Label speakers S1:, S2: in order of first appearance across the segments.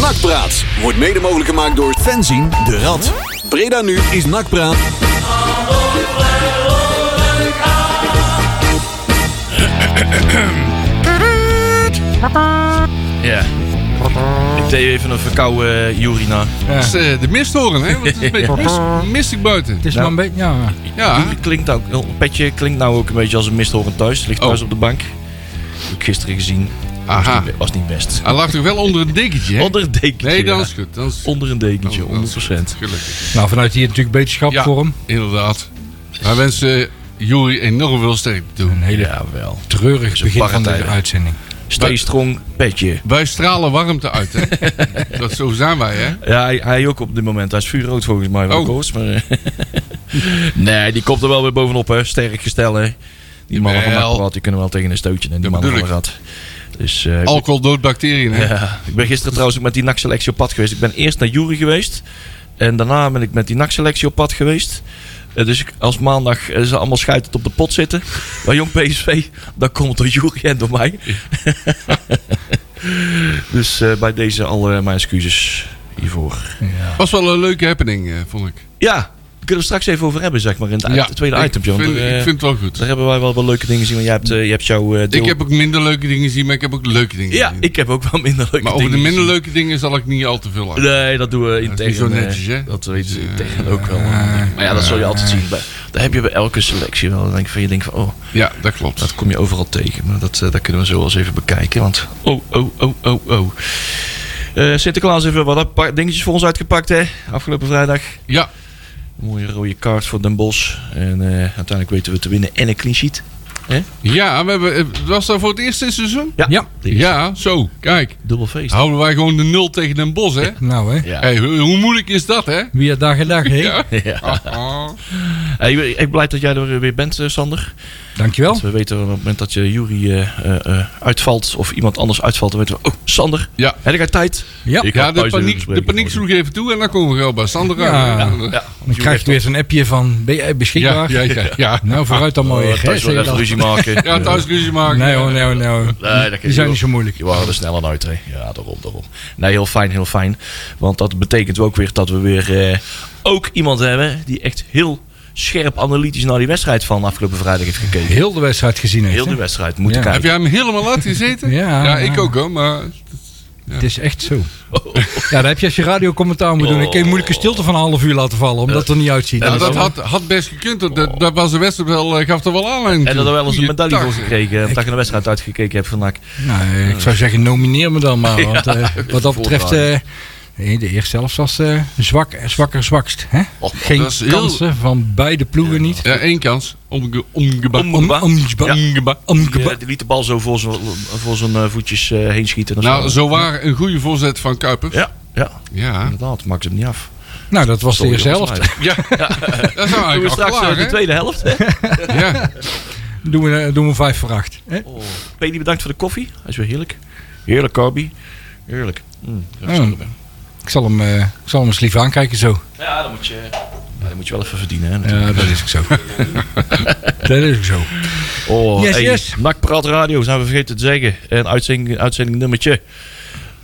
S1: Nakpraat wordt mede mogelijk gemaakt door fanzine de Rad. Breda nu is Nakpraat.
S2: Ja. Ik deed even een eh, verkoude Jurina.
S3: Dat is eh, de misthoren, hè? Want het is een beetje mis- mistig buiten.
S4: Het is maar een beetje... Ja.
S3: Ja,
S2: Klinkt ook, een petje klinkt nou ook een beetje als een misthoorn thuis. Ligt
S3: Oh.
S2: thuis op de bank. Heb ik gisteren gezien.
S3: aha.
S2: Was niet best.
S3: Hij lag toch wel onder een dekentje, hè?
S2: Onder een dekentje.
S3: Nee, dan
S2: ja.
S3: is goed. Oh, Dan is
S2: Onder een dekentje,
S3: Dan- dan
S2: 100%.
S3: is het gelukkig.
S4: Nou, vanuit hier natuurlijk beterschap
S3: Ja,
S4: voor hem.
S3: inderdaad. Wij wensen Juri enorm veel sterkte toe.
S4: Een hele
S2: Ja, wel.
S4: treurig
S2: een
S4: begin van
S2: barre
S4: de
S2: tijden.
S4: uitzending.
S2: Stay strong, petje.
S3: Wij stralen warmte uit, hè? Dat zo zijn wij, hè?
S2: Ja, hij, hij ook op dit moment. Hij is vuurrood volgens mij wel
S3: Oh.
S2: koos. Maar, eh, nee, die komt er wel weer bovenop, hè. Sterk gestel, hè. Die mannen van
S3: Jawel.
S2: Nakkerwad, die kunnen wel tegen een stootje. En die
S3: Dat
S2: mannen van
S3: bedoel ik.
S2: Rad. Dus, eh, ik ben-
S3: Alcohol doodt bacteriën, hè?
S2: Ja, ik ben gisteren trouwens ook met die NAC-selectie op pad geweest. Ik ben eerst naar Jury geweest. En daarna ben ik met die NAC-selectie op pad geweest. Eh, dus ik- als maandag eh, ze allemaal schuitend op de pot zitten. Bij Jong PSV, dan komt het door Jury en door mij. dus eh, bij deze al eh, mijn excuses hiervoor.
S3: Was wel een leuke happening, eh, vond ik.
S2: Ja, daar kunnen we straks even over hebben, zeg maar. In het i- tweede
S3: ik
S2: item, John.
S3: Vind,
S2: Daar, eh,
S3: ik vind het wel goed.
S2: daar hebben wij wel, wel leuke dingen gezien. Want jij hebt, eh, je hebt jouw eh, deel...
S3: Ik heb ook minder leuke dingen gezien, maar ik heb ook leuke dingen
S2: Ja,
S3: gezien.
S2: ik heb ook wel minder leuke
S3: Maar
S2: dingen
S3: over de minder
S2: gezien.
S3: leuke dingen zal ik niet al te veel aan.
S2: Nee, dat doen we
S3: Dat is
S2: intern.
S3: niet zo
S2: eh,
S3: netjes, hè?
S2: Dat weet je intern ook wel. Maar ja, dat zul je altijd zien. Bij, dat heb je bij elke selectie wel. Dan denk je van, je denkt van, oh,
S3: Ja, dat klopt.
S2: dat kom je overal tegen. Maar dat, eh, dat kunnen we zo wel eens even bekijken. Want, oh, oh, oh, oh, oh. Eh, Sinterklaas heeft wel wat een paar dingetjes voor ons uitgepakt, hè? Afgelopen vrijdag.
S3: Ja,
S2: Een mooie rode kaart voor Den Bosch. En eh, uiteindelijk weten we te winnen en een clean sheet.
S3: ja we hebben, eh, was dat voor het eerst dit seizoen?
S2: Ja.
S4: Ja.
S2: Dit is
S3: Ja, Ah. zo, kijk.
S2: Dubbel feest.
S3: Houden wij gewoon de nul tegen Den Bos, hè?
S4: Nou, hè.
S2: Ja.
S3: Hey, hoe, hoe moeilijk is dat, hè?
S4: Wie het dag en dag, hè.
S3: Ja.
S2: Ja.
S3: Ah.
S2: Hey, ik ben blij dat jij er weer bent, eh, Sander.
S4: Dankjewel.
S2: Want we weten op het moment dat je Jury eh, eh, eh, uitvalt of iemand anders uitvalt, dan weten we, oh, Sander,
S3: Ja.
S2: heb ik uit tijd?
S4: Ja.
S2: Ik
S3: Ja,
S2: had
S3: de
S2: thuis
S3: paniek,
S2: bespreking
S3: de paniek
S2: voor
S3: sloeg even toe en dan komen we wel bij Sander
S4: Ja.
S3: uit.
S2: Ja,
S4: Dan krijg je weer zo'n appje van, ben jij
S3: ja,
S4: beschikbaar?
S3: ja, ja, ja.
S4: Nou, vooruit dan
S2: Oh,
S4: mooi. hè,
S2: thuis
S4: zeg
S2: wel
S4: je
S2: even
S4: dan.
S2: ruzie maken.
S3: Ja, thuis ruzie maken.
S4: Nee hoor, nee hoor, nee hoor.
S2: Nee, dat kan
S4: Die zijn
S2: je
S4: niet zo moeilijk.
S2: Je waren er sneller uit, hè? Ja, daarom, daarom. Nee, heel fijn, heel fijn. Want dat betekent ook weer dat we weer eh, ook iemand hebben die echt heel scherp analytisch naar die wedstrijd van afgelopen vrijdag heeft gekeken.
S4: Heel de wedstrijd gezien heeft.
S2: Heel
S4: hè.
S2: de wedstrijd moeten
S4: Ja.
S3: Heb
S2: kijken.
S3: jij hem helemaal uitgezeten?
S4: Ja.
S3: ja, ik ook hoor, maar...
S4: Het is echt zo. Ja, daar heb je als je radiocommentaar moet doen. Ik kan een moeilijke stilte van een half uur laten vallen, omdat het er niet uitziet.
S3: Ja, dat
S2: wel-
S3: had, had best gekund. Dat, dat, dat was de wedstrijd wel, eh, gaf er wel aanleiding
S2: En dat er wel eens een medaille voor
S3: gekregen.
S2: gekregen. eh, Omdat ik naar de wedstrijd uitgekeken heb vandaag.
S4: Nou, ik zou zeggen, nomineer me dan maar. Want eh, wat dat betreft, eh, nee, de eerste zelfs was eh, zwak, zwakker, zwakst. Hè?
S2: Oh,
S4: Geen
S3: dat is heel-
S4: kansen van beide ploegen niet.
S3: Ja, één kans. Omge, omgeba.
S2: Om-
S4: Om- omgeba-
S2: Ja.
S3: omgeba.
S2: Die,
S4: omgeba-
S2: eh, die liet de bal zo voor zijn, voor zijn eh, voetjes eh, heen schieten. Dat is
S3: Nou,
S2: wel-
S3: zo waar een goede voorzet van Kuipers.
S2: Ja, ja,
S3: Ja.
S2: inderdaad. Maakt ze hem niet af.
S4: Nou, dat was de
S2: Sorry,
S4: eerste
S2: jongens,
S4: helft.
S3: Ja. Dat is nou
S2: maar- Doen we
S3: eigenlijk al
S2: straks
S3: klaar,
S2: eh, de
S3: hè?
S2: tweede helft. hè?
S3: Ja.
S4: Doen we, eh, doen we vijf voor acht. Hè?
S2: Oh. Penny, bedankt voor de koffie. Hij is weer heerlijk. Heerlijk, Carby. Heerlijk. Mm, dat is
S4: Mm.
S2: lekker.
S4: Ik, zal hem, eh, ik zal hem eens lief aankijken zo.
S2: Ja, dan moet je... ja, dat moet je wel even verdienen, hè. natuurlijk.
S4: Ja, dat is ook zo. dat is ook zo.
S2: Oh,
S4: Yes, yes.
S2: Nakpraat Radio, zijn we vergeten te zeggen. En uitzending, uitzending nummertje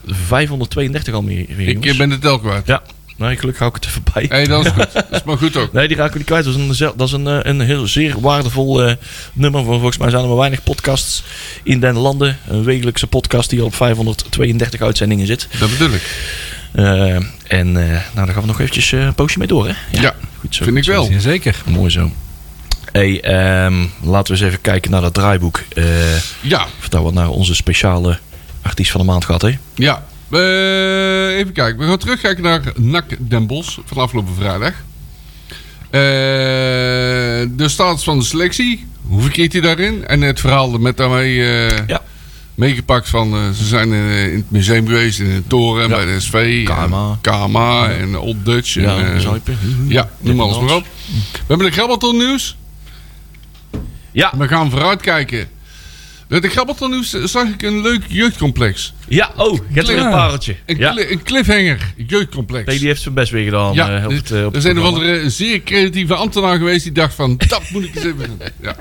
S2: 532 al meer. weer,
S3: Ik eh,
S2: jongens.
S3: ben de tel kwijt.
S2: Ja, nee, gelukkig hou ik het even bij.
S3: Hé, dat is goed. Dat is maar goed ook.
S2: Nee, die raken we niet kwijt. Dat is een, zel- dat is een, eh, een heel zeer waardevol eh, nummer. Want Volgens mij zijn er maar weinig podcasts in den landen. Een wekelijkse podcast die al op 532 uitzendingen zit.
S3: Dat bedoel ik.
S2: Eh, en eh, nou, daar gaan we nog eventjes eh, een poosje mee door, hè?
S3: Ja,
S2: goed zo.
S3: vind ik wel.
S4: Zeker.
S2: Mooi zo. Hey, ehm, laten we eens even kijken naar dat draaiboek. Eh,
S3: Ja,
S2: vertel wat naar onze speciale artiest van de maand gehad, hè?
S3: ja. Eh, even kijken. We gaan terugkijken naar NAC Den Bosch van afgelopen vrijdag. Eh, de status van de selectie. Hoe verkeert hij daarin? En het verhaal met daarmee eh,
S2: Ja.
S3: meegepakt van... eh, ze zijn eh, in het museum geweest, in de toren,
S2: Ja.
S3: bij de eh, SV.
S2: KMA.
S3: En KMA en Old Dutch.
S2: Ja,
S3: en, eh,
S2: Zuipen.
S3: ja noem alles maar op. We hebben de Grabbelton nieuws.
S2: Ja,
S3: We gaan vooruitkijken. Met de Grabbelton nieuws zag ik een leuk jeugdcomplex.
S2: Ja, oh, je hebt weer een
S4: Ja.
S2: pareltje.
S3: Een,
S2: Ja.
S3: cli- een cliffhanger, jeugdcomplex.
S2: Nee, die heeft zijn best weer gedaan.
S3: ja,
S2: eh, op
S3: dus
S2: het, eh, op
S3: er
S2: het
S3: zijn een of
S2: programma.
S3: andere zeer creatieve ambtenaar geweest die dacht van, dat moet ik eens even doen. Ja.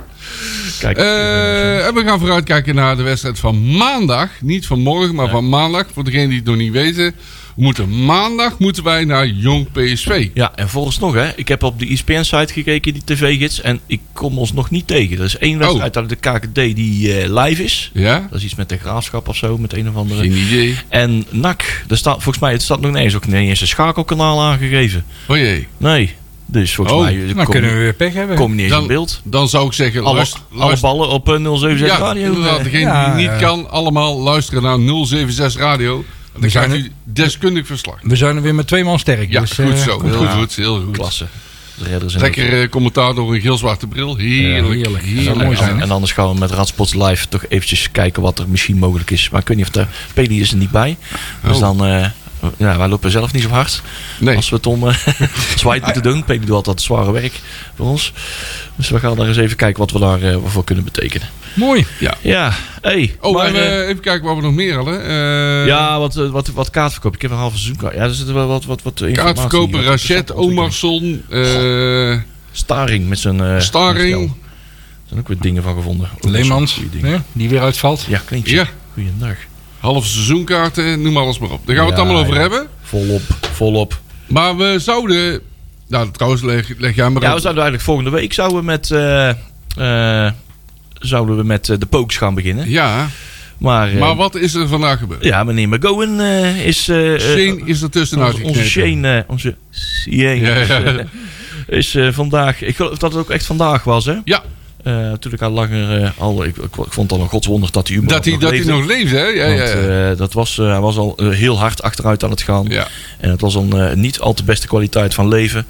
S2: Kijk,
S3: Eh, en we gaan vooruitkijken naar de wedstrijd van maandag. Niet van morgen, maar van maandag. Voor degenen die het nog niet weten. We moeten maandag moeten wij naar Jong PSV.
S2: Ja, en vooralsnog, hè, ik heb op de E ESPN-site gekeken, die tv-gids, en ik kom ons nog niet tegen. Er is
S3: Oh.
S2: één wedstrijd uit de KKD die eh, live is.
S3: Ja?
S2: Dat is iets met de graafschap of zo, met een of andere.
S3: Geen idee.
S2: En NAC, daar staat volgens mij, het staat nog ineens ook niet eens een schakelkanaal aangegeven.
S3: O jee.
S2: Nee, dus volgens
S3: Oh,
S2: mij eh,
S4: Dan
S2: kom,
S4: Nou, kunnen we weer pech hebben.
S2: kom je niet eens in
S3: Dan,
S2: beeld.
S3: dan zou ik zeggen,
S2: Alle,
S3: luister,
S2: alle
S3: luister-
S2: ballen op eh, 076
S3: ja,
S2: Radio.
S3: inderdaad,
S2: eh.
S3: degene
S4: Ja,
S3: die
S4: ja.
S3: niet kan, allemaal luisteren naar 076 Radio. Dan
S4: We zijn
S3: krijgt
S4: er.
S3: u deskundig verslag.
S4: We zijn er weer met twee man sterk.
S3: Ja,
S4: dus,
S3: goed
S4: eh,
S3: zo.
S4: komt
S3: Heel
S4: goed.
S3: goed, heel goed.
S2: Klasse. De redders en
S3: Lekker eh, commentaar door een geel-zwarte bril. Heerlijk.
S4: Ja, heerlijk. Dat zou mooi zijn, hè?
S2: En anders gaan we met Radsports Live toch eventjes kijken wat er misschien mogelijk is. Maar ik weet niet of de PD is er niet bij. Dus
S3: Oh.
S2: dan, eh, ja, wij lopen zelf niet zo hard.
S3: Nee.
S2: Als we het om eh, zwaait moeten doen. PD doet altijd zware werk voor ons. Dus we gaan daar eens even kijken wat we daarvoor voor kunnen betekenen.
S4: Mooi.
S2: Ja, hey.
S3: Oh,
S2: maar,
S3: en,
S2: eh,
S3: eh, even kijken wat we nog meer hadden. Eh,
S2: ja, wat, eh, wat, wat kaartverkoop. Ik heb een halve zoekkaart. Ja, er zitten wel wat, wat, wat informatie.
S3: Kaartverkoper,
S2: wat
S3: Rachet,
S2: interessante ontwikkelingen.
S3: Omarsson, eh
S2: Staring met zijn... eh,
S3: Staring.
S2: stel. Er zijn ook weer dingen van gevonden. Ook wel zo'n
S4: Leemans,
S2: goede dingen.
S4: hè, die weer uitvalt.
S2: Ja, kleintje.
S3: Ja.
S2: Goeiedag.
S3: halve seizoenkaarten, noem alles maar op. Daar gaan we het
S2: Ja,
S3: allemaal over
S2: ja.
S3: hebben.
S2: Volop, volop.
S3: Maar we zouden... Nou, trouwens, leg, leg jij maar
S2: Ja,
S3: op.
S2: we zouden eigenlijk volgende week zouden we met, eh, eh, zouden we met eh, de pokes gaan beginnen.
S3: Ja,
S2: Maar, eh,
S3: maar wat is er vandaag gebeurd?
S2: ja, meneer McGowan eh, is... eh, eh,
S3: Shane is er tussenuit
S2: onze, onze
S3: geknepen.
S2: Shane, eh, onze Shane
S3: Ja,
S2: is,
S3: ja.
S2: eh, is eh, vandaag... Ik geloof dat het ook echt vandaag was, hè?
S3: Ja,
S2: Eh, toen ik al langer... eh, al, ik, ik vond het al een godswonder dat hij überhaupt
S3: dat hij, dat hij
S2: leefde.
S3: nog leeft, hè? Ja, ja,
S2: Want,
S3: ja.
S2: eh, dat was, eh, hij was al eh, heel hard achteruit aan het gaan.
S3: Ja.
S2: En het was een eh, niet al te beste kwaliteit van leven.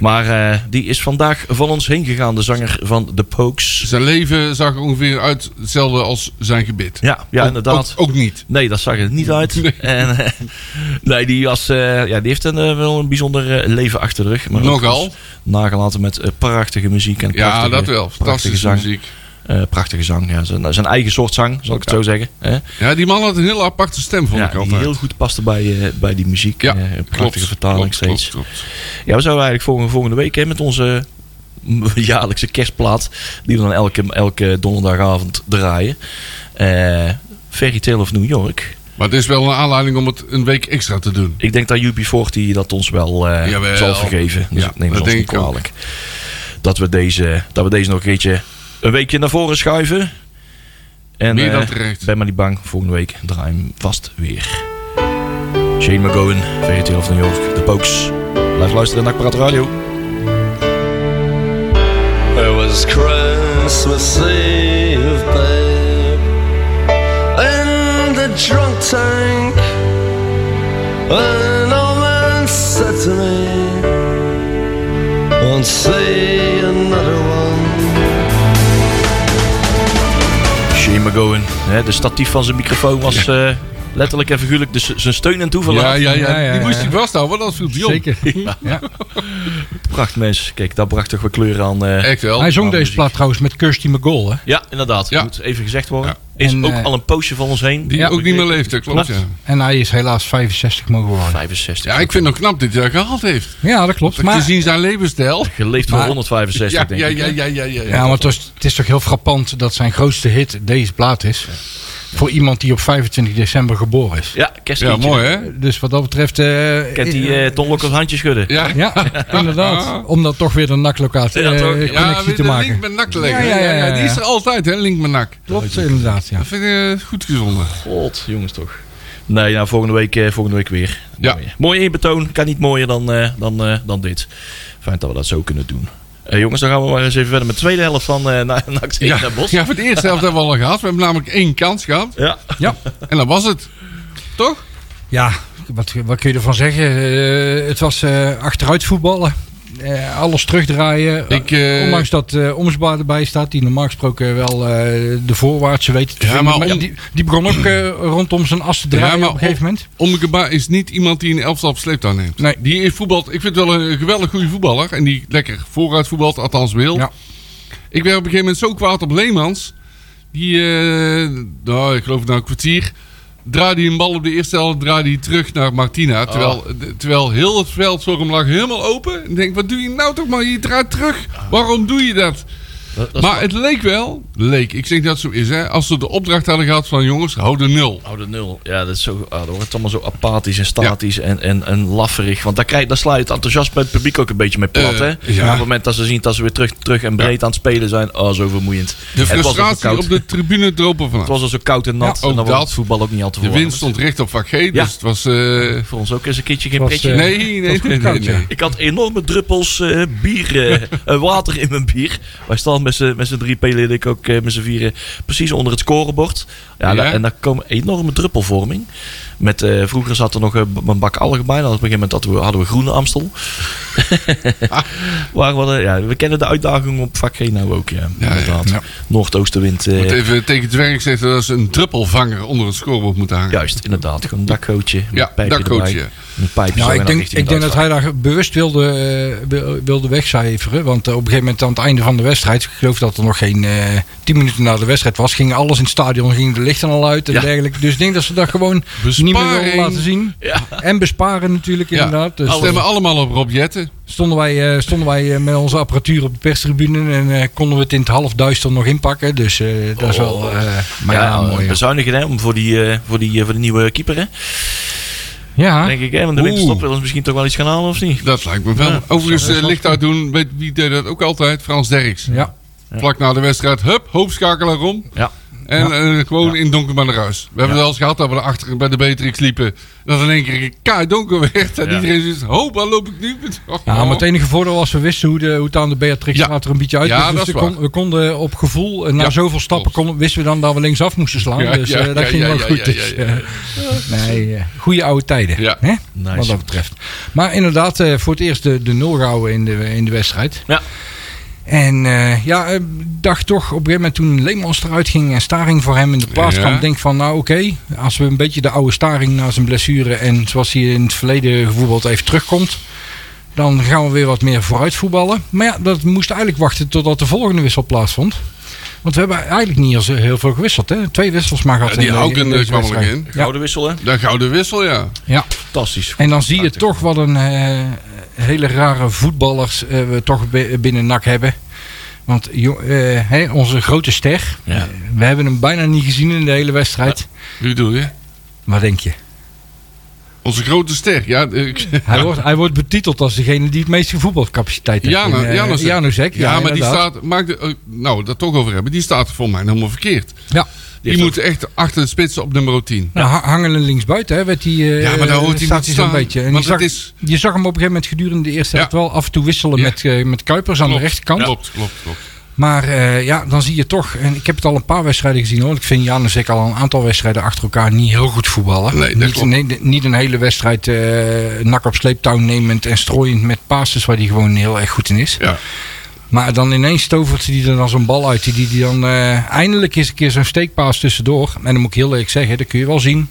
S2: Maar eh, die is vandaag van ons heen gegaan, de zanger van The Pokes.
S3: Zijn leven zag er ongeveer uit hetzelfde als zijn gebit.
S2: Ja, ja
S3: Ook-
S2: inderdaad.
S3: Ook, ook niet.
S2: Nee, dat zag er niet uit.
S3: Oh, Nee.
S2: En, eh, nee, die, was, eh, ja, die heeft een, eh, wel een bijzonder eh, leven achter de rug. Maar ook
S3: Nogal.
S2: was Nagelaten met eh, prachtige muziek. En
S3: Ja,
S2: prachtige-
S3: dat wel.
S2: Prachtige
S3: Fantastische
S2: zang.
S3: muziek.
S2: Eh, prachtige zang. Ja, zijn, eh, zijn eigen soort zang, zal ik het zo zeggen. hè?
S3: Ja, die man had een heel aparte stem, vond
S2: Ja,
S3: ik
S2: die
S3: altijd.
S2: heel goed paste bij, eh, bij die muziek.
S3: Ja,
S2: Eh, prachtige vertaling
S3: klopt,
S2: steeds.
S3: klopt, klopt.
S2: Ja, we zouden eigenlijk volgende, volgende week hè, met onze jaarlijkse kerstplaat, die we dan elke, elke donderdagavond draaien. Eh Fairy Tale of New York.
S3: Maar het is wel een aanleiding om het een week extra te doen.
S2: Ik denk dat UB40 dat ons wel eh,
S3: Jawel.
S2: zal vergeven. Dus
S3: Ja,
S2: ik neem het
S3: dat
S2: ons niet
S3: denk ik ook.
S2: kwalijk. Dat we, deze, dat we deze nog een keertje een weekje naar voren schuiven. En,
S3: Meer dan
S2: eh,
S3: terecht.
S2: Ben maar niet bang. Volgende week draai hem vast weer. Shane McGowan, Fairy Tale of New York, The Pokes. Blijf luisteren naar Akparat Radio.
S5: It was Christmas Eve, babe. In the drunk tank, an old man said to me, Won't see another one.
S2: Shane McGowan, hè, de statief van zijn microfoon was eh, letterlijk en figuurlijk dus zijn steun en
S3: Ja,
S2: toeverlaat.
S3: ja,
S4: Ja,
S3: ja,
S4: ja,
S3: Die moest
S4: ja.
S3: hij vasthouden, want anders viel die om.
S4: Zeker. Ja.
S2: Pracht mens, kijk, dat bracht toch weer kleur aan. eh.
S3: Echt wel.
S4: Hij zong
S2: Qua
S4: deze
S2: muziek.
S4: plaat trouwens met Kirsty McGall. Hè?
S2: Ja, inderdaad,
S3: Ja.
S2: moet even gezegd worden. Is
S4: En,
S2: ook
S4: eh,
S2: al een poosje van ons heen.
S3: Die
S4: Ja.
S3: ook niet meer leeft, dat klopt. Ja.
S4: En hij is helaas 65 mogen worden.
S2: 65.
S3: ja, ik vind het nog knap dat hij dat gehaald heeft.
S4: Ja, dat klopt.
S3: Maar,
S4: Maar,
S3: Gezien zijn levensstijl.
S2: Geleefd voor
S4: Maar-
S2: 165,
S3: Ja,
S2: denk
S3: ja,
S2: ik.
S3: ja, ja, ja, ja.
S4: ja, maar het, was- het is toch heel frappant dat zijn grootste hit deze plaat is. Voor iemand die op 25 december geboren is.
S2: Ja, kerstliedje.
S3: Ja, mooi hè?
S4: Dus wat dat betreft... eh,
S2: Kent die eh Ton Lokke's handje schudden?
S3: Ja, ja,
S4: Ja, inderdaad. Om dan toch weer de naklocatie
S2: Ja,
S4: eh
S2: toch? Ja,
S4: connectie
S3: weet
S4: te
S3: je, de link
S4: maken.
S3: met nak te leggen.
S4: Ja, ja, ja, ja,
S3: Die is
S4: ja.
S3: er altijd, hè? Link met nak.
S4: Klopt, inderdaad. Ja.
S3: Dat vind ik eh, goed gezonden.
S2: God, jongens toch. Nee, nou, volgende week, eh, volgende week weer.
S3: Ja.
S2: Mooi. Mooi inbetoon. Kan niet mooier dan, eh, dan, eh, dan dit. Fijn dat we dat zo kunnen doen. Eh, jongens, dan gaan we maar eens even verder met de tweede helft van eh Na- Nacht
S3: Ja,
S2: naar Bos.
S3: ja, voor het eerst helft hebben we al gehad. We hebben namelijk één kans gehad.
S2: ja.
S4: Ja.
S3: En dat was het. Toch?
S4: Ja, wat, wat kun je ervan zeggen? Eh, het was eh, achteruit voetballen. Eh, alles terugdraaien.
S3: Ik, eh,
S4: Ondanks dat eh Omsbaar erbij staat, die normaal gesproken wel eh, de voorwaartse weet te
S3: Ja,
S4: vinden.
S3: maar
S4: Maar
S3: om-
S4: die, die begon ook eh, rondom zijn as te draaien
S3: maar
S4: op een gegeven moment.
S3: Omkeba is niet iemand die een elftal op sleeptouw neemt.
S4: Nee.
S3: Die is voetbalt. Ik vind het wel een geweldig goede voetballer. En die lekker vooruit voetbalt, althans wil.
S4: Ja.
S3: Ik werd op een gegeven moment zo kwaad op Leemans. Die, eh, nou, ik geloof na een nou kwartier, draaide hij een bal op de eerste helft, draaide hij terug naar Martina. Terwijl, d- terwijl heel het veld voor hem lag helemaal open. En ik denk, wat doe je nou toch man? Je draait terug. Waarom doe je dat?
S2: Dat, dat is
S3: maar het leek wel, leek, ik zeg dat het zo is hè. Als ze de opdracht hadden gehad van jongens, hou de nul.
S2: Oh, de nul. Ja, dat is zo, ah, dan wordt het allemaal zo apathisch en statisch en, en, en lafferig. Want daar, krijg, daar sla je het enthousiasme bij het publiek ook een beetje mee plat.
S3: Eh,
S2: hè?
S3: ja.
S2: Op het moment dat ze zien dat ze weer terug, terug en breed aan het spelen zijn. Oh, zo vermoeiend.
S3: De
S2: En het was ook zo
S3: frustratie
S2: koud.
S3: op de tribune droop er
S2: Het
S3: vanaf.
S2: was al zo koud en nat.
S3: Ja, ook
S2: en dan was
S3: dat.
S2: het voetbal ook niet al te
S3: De
S2: verwarmen.
S3: wind stond recht op vak G, dus
S2: Ja.
S3: het was... eh,
S2: Voor ons ook eens een keertje geen
S4: Was,
S2: pretje.
S4: eh,
S3: Nee, nee,
S4: dat
S3: nee,
S4: was
S3: nee,
S4: goed koud,
S3: nee.
S4: ja.
S2: Ik had enorme druppels eh, bier, eh, eh, water in mijn bier. Wij staan met z'n met z'n drie pelen, ik ook eh, met z'n vieren, precies onder het scorebord. Ja,
S3: Ja.
S2: da- En daar kwam enorme druppelvorming. Met, eh, vroeger zat er nog eh, b- een bak algen bij. Dan op een gegeven moment hadden we, hadden we groene Amstel. Waar we, hadden- ja, we kennen de uitdaging op vak G nou ook, ja,
S3: ja,
S2: inderdaad.
S4: ja.
S2: Noordoostenwind, eh,
S3: Moet even tegen het werk zeggen dat ze een druppelvanger onder het scorebord moeten hangen.
S2: juist, inderdaad. Gewoon een dakgootje, met
S3: Ja,
S2: een pijpje
S3: dakgootje.
S2: erbij. Een pijpje zo
S4: Nou,
S2: en dan
S4: ik denk,
S2: richting
S4: ik denk
S2: het
S4: dat hij daar bewust wilde, eh, wil- wilde wegcijferen. Want eh, op een gegeven moment aan het einde van de wedstrijd, ik geloof dat er nog geen eh, 10 minuten na de wedstrijd was, ging alles in het stadion, gingen de lichten al uit en
S2: Ja.
S4: dergelijke. Dus ik denk dat ze dat gewoon niet meer wilden
S3: Besparing.
S4: laten zien. En besparen natuurlijk
S3: Ja.
S4: inderdaad. Dus
S3: Stemmen allemaal op Rob Jetten.
S4: stonden wij, eh, stonden wij eh, met onze apparatuur op de perstribune en eh, konden we het in het halfduister nog inpakken. Dus eh, dat is wel eh, maar ja,
S2: Oh. ja, dus-
S4: mooi. hoor.
S2: bezuinigen hè, om voor, die, eh, voor, die, eh, voor de nieuwe keeper. Hè?
S4: Ja,
S2: Denk ik, hè? Want de
S3: Oeh.
S2: winterstop willen ze misschien toch wel iets gaan halen of niet?
S3: Dat lijkt me wel.
S2: Ja.
S3: Overigens,
S2: Ja, dat
S3: eh,
S2: is
S3: licht uit doen, weet wie deed dat ook altijd? Frans Derks.
S4: ja.
S3: Vlak na de wedstrijd, hup, hoofdschakelaar om.
S2: Ja.
S3: En eh, gewoon in donker maar naar huis. We hebben het wel eens gehad dat we achter bij de Beatrix liepen. Dat in één keer kaart donker werd. En
S2: Ja.
S3: iedereen zoiets, ho, waar loop ik nu? Oh.
S4: Ja, maar het enige voordeel was, we wisten hoe, de, hoe het aan de Beatrix
S3: Ja.
S4: later er een beetje uit.
S3: Ja,
S4: was.
S3: dat
S4: dus
S3: is
S4: we,
S3: waar.
S4: kon- we konden op gevoel, eh, na
S3: Ja,
S4: zoveel stappen
S3: klopt.
S4: konden, wisten we dan dat we linksaf moesten slaan.
S3: Ja,
S4: dus
S3: ja,
S4: eh, dat
S3: ja,
S4: ging
S3: ja,
S4: wel
S3: ja,
S4: goed.
S3: ja,
S4: dus,
S3: ja, ja.
S4: eh, nee, eh, goede oude tijden,
S3: Ja.
S4: hè?
S2: Nice.
S4: wat dat betreft. Maar inderdaad, eh, voor het eerst de, de nul houden in de, in de wedstrijd.
S2: Ja.
S4: En eh, ja, ik dacht toch op een gegeven moment toen Leemans eruit ging en Staring voor hem in de plaats
S3: Ja.
S4: kwam. Denk van nou oké, als we een beetje de oude Staring na zijn blessure en zoals hij in het verleden gevoetbald heeft terugkomt. Dan gaan we weer wat meer vooruit voetballen. Maar ja, dat moest eigenlijk wachten totdat de volgende wissel plaatsvond. Want we hebben eigenlijk niet zo heel veel gewisseld. Hè? Twee wissels maar gehad.
S3: Ja, die
S4: in de-
S3: Hauken,
S4: in deze
S3: eh, kwam er
S4: wedstrijd.
S3: nog
S4: Ja,
S2: Gouden wissel, hè?
S3: De gouden wissel, ja.
S4: ja.
S2: Fantastisch.
S4: En dan zie je toch wat een eh, hele rare voetballers eh, we toch bi- binnen NAC hebben. Want jo- eh, hè, onze grote ster,
S2: Ja.
S4: eh, we hebben hem bijna niet gezien in de hele wedstrijd.
S3: Wie bedoel je?
S4: Wat denk je?
S3: Onze grote ster. Ja, ik-
S4: Hij, wordt, hij wordt betiteld als degene die het meeste voetbalcapaciteit heeft.
S3: Jana-
S4: In, eh,
S3: Janusek.
S4: Janusek,
S3: Ja, maar die
S4: inderdaad.
S3: staat. Maakt de, eh, nou, dat toch over hebben. Die staat voor mij helemaal verkeerd.
S4: Ja.
S3: Die,
S2: heeft
S3: moet echt achter de spits op nummer 10.
S4: Nou, ha- hangelen linksbuiten, hè, werd die, eh,
S3: Ja, maar daar hoort hij
S4: staat
S3: niet
S4: hij
S3: te
S4: zo'n
S3: staan.
S4: beetje. En je
S3: Want
S4: zag,
S3: het is-
S4: je zag hem op een gegeven moment gedurende de eerste
S3: Ja.
S4: helft wel af en toe wisselen
S3: Ja.
S4: met, eh, met Kuipers aan de rechterkant.
S3: Klopt, klopt, klopt.
S4: Maar eh, ja, dan zie je toch, en ik heb het al een paar wedstrijden gezien hoor. want Ik vind Janusek al een aantal wedstrijden achter elkaar niet heel goed voetballen.
S3: Nee, dat
S4: niet,
S3: klopt.
S4: nee, niet een hele wedstrijd eh nak op sleeptouw nemend en strooiend met passes waar hij gewoon heel erg goed in is.
S3: Ja.
S4: Maar dan ineens stovert hij er dan zo'n bal uit. Die, die, die dan eh, eindelijk eens een keer zo'n steekpaas tussendoor. En dan moet ik heel eerlijk zeggen, dat kun je wel zien.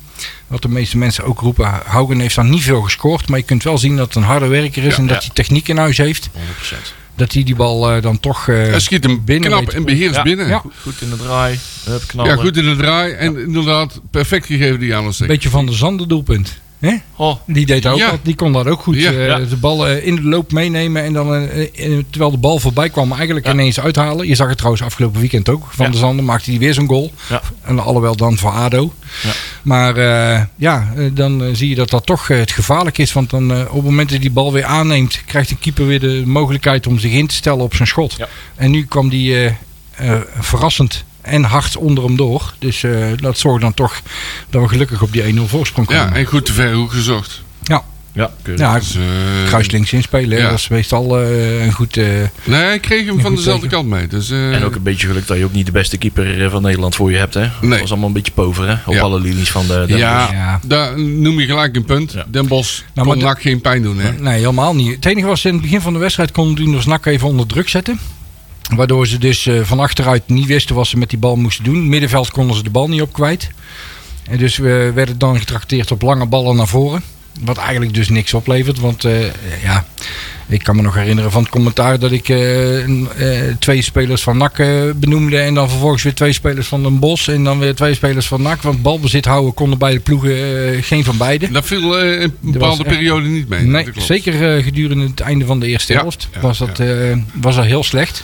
S4: Wat de meeste mensen ook roepen. Haugen heeft dan niet veel gescoord. Maar je kunt wel zien dat het een harde werker is.
S3: Ja,
S4: en dat
S2: ja.
S4: hij techniek in huis heeft.
S2: 100%.
S4: Dat hij die bal eh, dan toch... eh,
S3: Hij schiet hem
S4: binnen
S3: knap
S4: weet-
S3: en beheerst
S2: Ja.
S3: binnen.
S4: Ja.
S3: Ja.
S2: Goed, goed in de draai. Hup, knallen.
S3: goed in de draai. En inderdaad, perfect gegeven die aan
S4: Een beetje van de zanden doelpunt. hè?
S2: Oh,
S4: Die deed ook
S3: Ja.
S4: dat, die kon dat ook goed.
S3: Ja,
S4: eh,
S2: ja.
S4: De bal eh, in de loop meenemen en dan eh, eh, terwijl de bal voorbij kwam eigenlijk ineens uithalen. Je zag het trouwens afgelopen weekend ook. Van
S2: Ja.
S4: der Zanden maakte hij weer zo'n goal.
S2: Ja.
S4: En alhoewel dan voor ADO.
S2: Ja.
S4: Maar eh, ja, eh, dan eh, zie je dat dat toch eh, het gevaarlijk is. Want dan, eh, op het moment dat die bal weer aanneemt, krijgt de keeper weer de mogelijkheid om zich in te stellen op zijn schot.
S2: Ja.
S4: En nu kwam die eh, eh, verrassend en hard onder hem door. Dus eh, dat zorgt dan toch dat we gelukkig op die 1-0 voorsprong komen.
S3: Ja, en goed te ver hoek gezocht.
S2: ja. keurig.
S4: Ja,
S3: Dus, eh,
S4: kruislinks inspelen. hè.
S3: ja.
S4: Dat is meestal eh, een goed... eh,
S3: Nee, hij kreeg hem
S4: Niet
S3: van
S4: goed
S3: dezelfde
S4: tegen.
S3: kant mee. Dus, eh,
S2: En ook een beetje geluk dat je ook niet de beste keeper eh, van Nederland voor je hebt, hè? Dat
S3: Nee.
S2: was allemaal een beetje pover, hè? Op
S3: Ja.
S2: alle linies van de... de
S3: ja,
S4: Ja. Nou,
S3: daar noem je gelijk een punt.
S2: Ja.
S3: Den Bosch
S4: maar
S3: kon
S4: de-
S3: NAC geen pijn doen. Hè?
S4: Nee, helemaal niet. Het enige wat ze in het begin van de wedstrijd konden doen... was NAC even onder druk zetten. Waardoor ze dus eh, van achteruit niet wisten wat ze met die bal moesten doen. Middenveld konden ze de bal niet op kwijt. En dus we werden dan getrakteerd op lange ballen naar voren. Wat eigenlijk dus niks oplevert. Want eh, ja, Ik kan me nog herinneren van het commentaar dat ik eh, een, eh, twee spelers van NAC eh, benoemde. En dan vervolgens weer twee spelers van Den Bos. En dan weer twee spelers van NAC. Want balbezit houden konden beide ploegen eh, geen van beide.
S3: Dat viel eh, in een bepaalde
S4: echt-
S3: periode niet mee.
S4: Nee,
S3: dat klopt.
S4: zeker eh, gedurende het einde van de eerste
S3: Ja,
S4: helft
S3: ja,
S4: was, dat, eh, was dat heel slecht.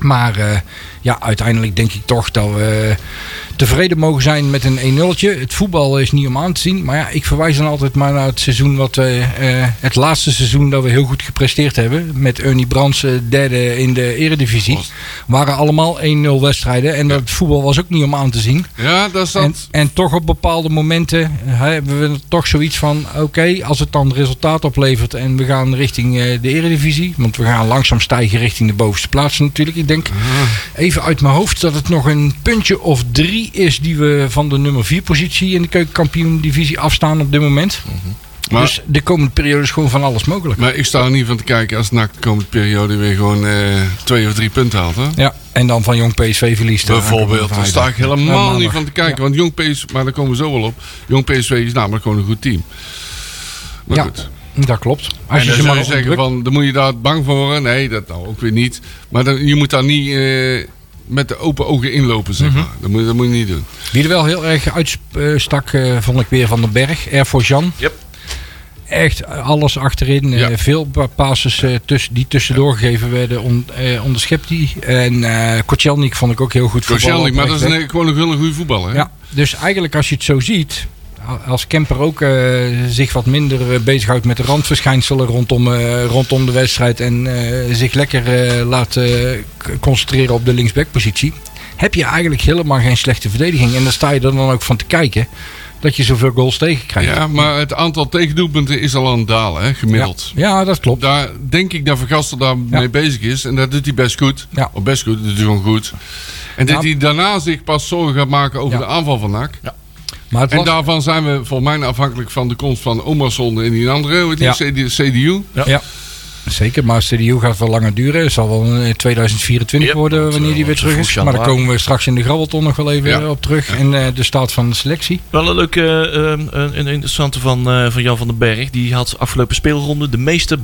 S4: Maar eh, ja, uiteindelijk denk ik toch dat we eh, tevreden mogen zijn met een 1-0'tje. Het voetbal is niet om aan te zien. Maar ja, ik verwijs dan altijd maar naar het seizoen wat we, eh, het laatste seizoen dat we heel goed gepresteerd hebben. Met Ernie Brands eh, derde in de eredivisie.
S3: Was-
S4: Waren allemaal 1-0 wedstrijden. En dat voetbal was ook niet om aan te zien.
S3: Ja, dat is dat.
S4: En, en toch op bepaalde momenten eh, hè, hebben we toch zoiets van: oké, als het dan resultaat oplevert en we gaan richting eh, de Eredivisie. Want we gaan langzaam stijgen richting de bovenste plaatsen natuurlijk. Ik denk
S3: Ah.
S4: even uit mijn hoofd dat het nog een puntje of drie is die we van de nummer vier positie in de keukenkampioen-divisie afstaan op dit moment.
S3: maar,
S4: dus de komende periode is gewoon van alles mogelijk.
S3: maar ik sta er niet van te kijken als NAC de komende periode weer gewoon eh, twee of drie punten haalt. Hè?
S4: Ja, en dan van jong PSV verliest. eh, de
S3: Bijvoorbeeld, daar
S4: aankomende
S3: sta ik
S4: vrijdag. Ja,
S3: helemaal
S4: maandag.
S3: niet van te kijken. Want Jong PSV, maar daar komen we zo wel op. Jong PSV is namelijk gewoon een goed team. Maar
S4: Ja,
S3: goed.
S4: dat klopt.
S3: Als
S4: Als je ze
S3: dan zou
S4: maar
S3: je
S4: onder
S3: zeggen
S4: druk-
S3: van, dan moet je daar bang voor worden. Nee, dat nou ook weer niet. Maar dan, je moet daar niet eh, met de open ogen inlopen, zeg
S4: Mhm.
S3: maar. Dat moet, dat moet je niet doen.
S4: Wie er wel heel erg uitstak, eh vond ik weer Van den Berg. Air for Jan.
S2: Yep.
S4: Echt alles achterin. eh,
S3: Ja.
S4: veel pa- passes eh, tuss- die tussendoor gegeven werden, on, eh, onderschept die. En eh Kocelnik vond ik ook heel goed voetballen
S3: Kozelnik,
S4: op
S3: maar dat is
S4: rechtsback.
S3: een, gewoon een hele goede voetballer. hè?
S4: Ja, dus eigenlijk als je het zo ziet, a- als Kemper ook eh, zich wat minder eh, bezighoudt met de randverschijnselen rondom, eh, rondom de wedstrijd en eh, zich lekker eh, laat eh, k- concentreren op de linksbackpositie, heb je eigenlijk helemaal geen slechte verdediging. En daar sta je er dan ook van te kijken dat je zoveel goals tegenkrijgt.
S3: Ja, maar het aantal tegendoelpunten is al aan het dalen, hè, gemiddeld.
S4: Ja, ja, dat klopt.
S3: Daar denk ik dat Vergastel daar mee bezig is. En dat doet hij best goed.
S4: Ja.
S3: Of best goed, dat doet hij gewoon goed. En dat
S4: Ja.
S3: hij daarna zich pas zorgen gaat maken over
S4: Ja.
S3: de aanval van NAC.
S4: Maar het
S3: En
S4: was,
S3: daarvan zijn we volgens mij afhankelijk van de komst van Omerson en die andere, hoe heet die, CDU.
S4: ja. Zeker, maar CDU gaat wel langer duren. Het zal wel eh, 2024
S2: Ja,
S4: worden
S2: want,
S4: wanneer
S2: eh,
S4: die weer
S2: want
S4: terug
S2: vroeg
S4: is. Maar
S2: januari.
S4: daar komen we straks in de grabbelton nog wel even
S3: Ja.
S4: eh, op terug. En eh, de staat van de selectie.
S2: Wel een leuke, eh, ehm, een, een interessante van, eh, van Jan van den Berg. Die had afgelopen speelronde de meeste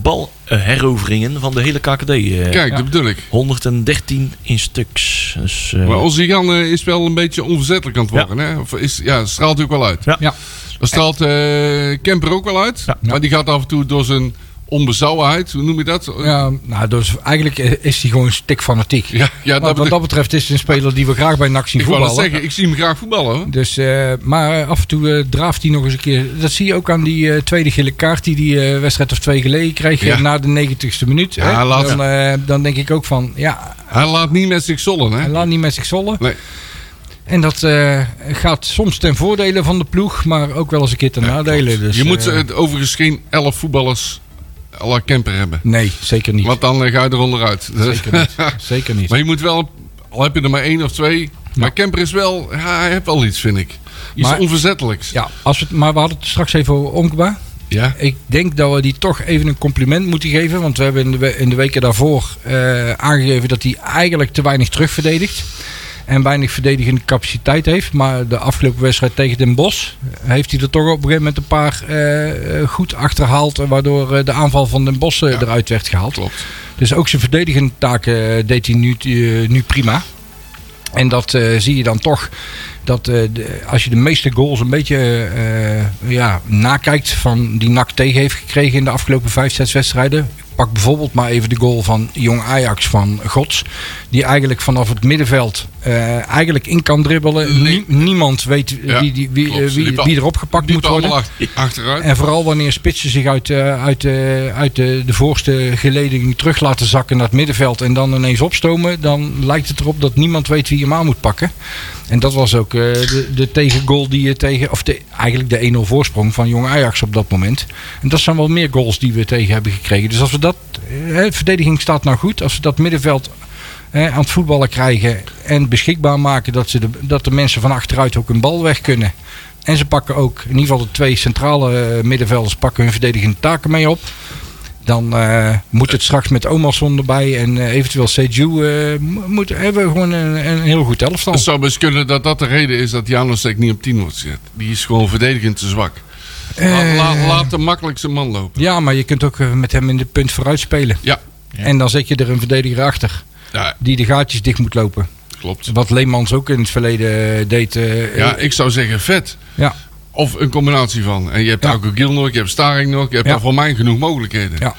S2: balheroveringen van de hele KKD. eh.
S3: Kijk,
S4: Ja.
S3: dat bedoel ik.
S2: 113 in stuks. Dus, eh,
S3: Maar onze Jan eh, is wel een beetje onverzettelijk aan het worden. Hè? Of is, ja, straalt ook wel uit.
S2: Ja.
S4: Ja.
S3: Dat straalt eh, Kemper ook wel uit.
S2: Ja.
S3: Maar die gaat af en toe door zijn onbezouwenheid, hoe noem je dat? Ja,
S4: Ja, nou, dus eigenlijk eh, is hij gewoon stik fanatiek.
S3: ja, dat
S4: wat,
S3: bedoel
S4: dat betreft is het een speler die we graag bij NAC zien
S3: ik. wou dat
S4: voetballen.
S3: zeggen, ik zie hem graag voetballen. hoor.
S4: Dus, eh, maar eh, af en toe eh, draaft hij nog eens een keer. Dat zie je ook aan die eh, tweede gele kaart die die eh, wedstrijd of twee geleden kreeg eh,
S3: Ja.
S4: na de 90ste minuut.
S3: Ja,
S4: hè.
S3: laat-
S4: dan, eh, dan denk ik ook van, ja,
S3: Hij laat niet met zich zollen, hè?
S4: hij laat niet met zich zollen.
S3: Nee.
S4: En dat eh, gaat soms ten voordele van de ploeg, maar ook wel eens een keer ten nadele. Dus,
S3: je moet
S4: eh,
S3: eh, overigens geen elf voetballers à la Kemper hebben.
S4: nee, zeker niet.
S3: Want dan eh, ga je er onderuit.
S4: Zeker niet. Zeker niet.
S3: Maar je moet wel, al heb je er maar één of twee. Maar Kemper is wel, ja, hij heeft wel iets, vind ik. Iets
S4: Maar-
S3: onverzettelijks.
S4: Ja, als we, het- maar we hadden het straks even over Onkba.
S3: Ja.
S4: Ik denk dat we die toch even een compliment moeten geven. Want we hebben in de, we- in de weken daarvoor eh, aangegeven dat hij eigenlijk te weinig terugverdedigt. En weinig verdedigende capaciteit heeft. Maar de afgelopen wedstrijd tegen Den Bosch eh, heeft hij er toch op een gegeven moment een paar eh, eh, goed achterhaald. eh, Waardoor eh, de aanval van Den Bosch eh,
S3: Ja.
S4: eruit werd gehaald.
S3: Klopt.
S4: Dus ook zijn verdedigende taken eh, deed hij nu, eh, nu prima. En dat eh, zie je dan toch. Dat eh, de- als je de meeste goals een beetje eh, ja, nakijkt van die NAC tegen heeft gekregen in de afgelopen 5, 6 wedstrijden. Ik pak bijvoorbeeld maar even de goal van Jong Ajax van Gods. Die eigenlijk vanaf het middenveld eh, eigenlijk in kan dribbelen.
S3: Nee.
S4: Nie- niemand weet
S3: Ja,
S4: wie, die, wie,
S3: klopt.
S4: eh, wie,
S3: Liep al-
S4: wie erop gepakt
S3: Die
S4: moet worden.
S3: allemaal ach- achteruit.
S4: En vooral wanneer spitsen zich uit, eh, uit, eh, uit de, de voorste geleding terug laten zakken naar het middenveld en dan ineens opstomen, dan lijkt het erop dat niemand weet wie hem aan moet pakken. En dat was ook eh, de, de tegengoal die je tegen, of de, eigenlijk de 1-0 voorsprong van Jong Ajax op dat moment. En dat zijn wel meer goals die we tegen hebben gekregen. Dus als we dat, eh, hè, verdediging staat nou goed, als we dat middenveld hè, aan het voetballen krijgen en beschikbaar maken dat, ze de, dat de mensen van achteruit ook hun bal weg kunnen. En ze pakken ook, in ieder geval de twee centrale eh, middenvelders pakken hun verdedigende taken mee op. Dan eh, moet het straks met Omerson erbij en eh, eventueel Seju. eh mo- moet, hebben we gewoon een, een heel goed elftal.
S3: Het zou best kunnen dat dat de reden is dat Janosek niet op 10 wordt gezet. Die is gewoon verdedigend te zwak. La-
S4: Eh,
S3: la- laat de makkelijkste man lopen.
S4: Ja, maar je kunt ook eh, met hem in de punt vooruit spelen.
S3: Ja,
S4: En dan zet je er een verdediger achter.
S3: ja
S4: Die de gaatjes dicht moet lopen.
S3: klopt.
S4: Wat Leemans ook in het verleden eh, deed. eh,
S3: Ja, ik zou zeggen vet.
S4: ja.
S3: Of een combinatie van. En je hebt
S4: Ja.
S3: ook Gil nog, je hebt Staring nog. Je hebt
S4: Ja.
S3: daar voor mij genoeg mogelijkheden.
S4: Ja.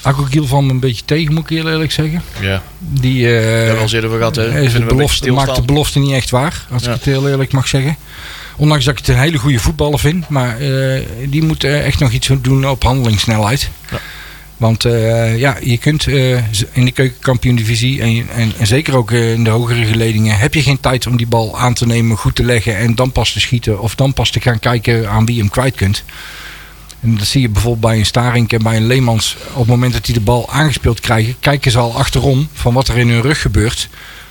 S4: Had ik ook heel van me een beetje tegen, moet ik heel eerlijk zeggen.
S6: Ja,
S4: Die eh,
S6: dat was eerder we gehad. hè.
S4: is
S6: Vinden we
S4: het
S6: een beetje
S4: belofte, maakt de
S6: stilstaan.
S4: belofte niet echt waar. Als
S6: Ja.
S4: ik het heel eerlijk mag zeggen. Ondanks dat ik het een hele goede voetballer vind. Maar eh, die moet eh, echt nog iets doen op handelingssnelheid. Want eh, ja, je kunt eh, z- in de keukenkampioen-divisie en, en, en zeker ook eh, in de hogere geledingen... heb je geen tijd om die bal aan te nemen, goed te leggen... en dan pas te schieten of dan pas te gaan kijken aan wie je hem kwijt kunt. En dat zie je bijvoorbeeld bij een Starink en bij een Leemans. Op het moment dat die de bal aangespeeld krijgen, kijken ze al achterom van wat er in hun rug gebeurt.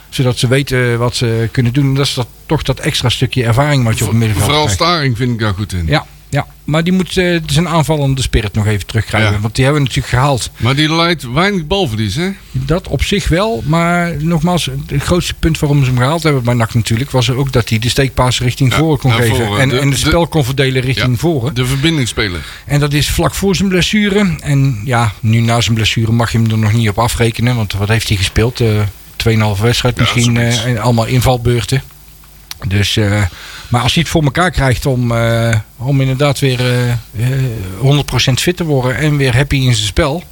S4: Zodat ze weten eh, wat ze kunnen doen. En dat is dat, toch dat extra stukje ervaring wat je op het middenveld
S3: Vooral
S4: krijgt.
S3: Staring vind ik daar goed in.
S4: Ja, ja, maar die moet eh, zijn aanvallende spirit nog even terugkrijgen.
S3: Ja.
S4: Want die hebben we natuurlijk gehaald.
S3: Maar die leidt weinig balverlies, hè?
S4: Dat op zich wel, maar nogmaals, het grootste punt waarom ze hem gehaald hebben bij NAC natuurlijk... was er ook dat hij de steekpaas richting
S3: Ja,
S4: voren kon
S3: naar
S4: geven.
S3: voren.
S4: En,
S3: De- de-
S4: en het spel kon verdelen richting
S3: Ja.
S4: voren.
S3: De verbindingsspeler.
S4: En dat is vlak voor zijn blessure. En ja, nu na zijn blessure mag je hem er nog niet op afrekenen. Want wat heeft hij gespeeld? Eh 2,5 wedstrijd
S3: Ja,
S4: misschien.
S3: zoiets.
S4: eh, en allemaal invalbeurten. Dus, eh, maar als hij het voor elkaar krijgt om, eh, om inderdaad weer eh, eh, 100% fit te worden. En weer happy in zijn spel.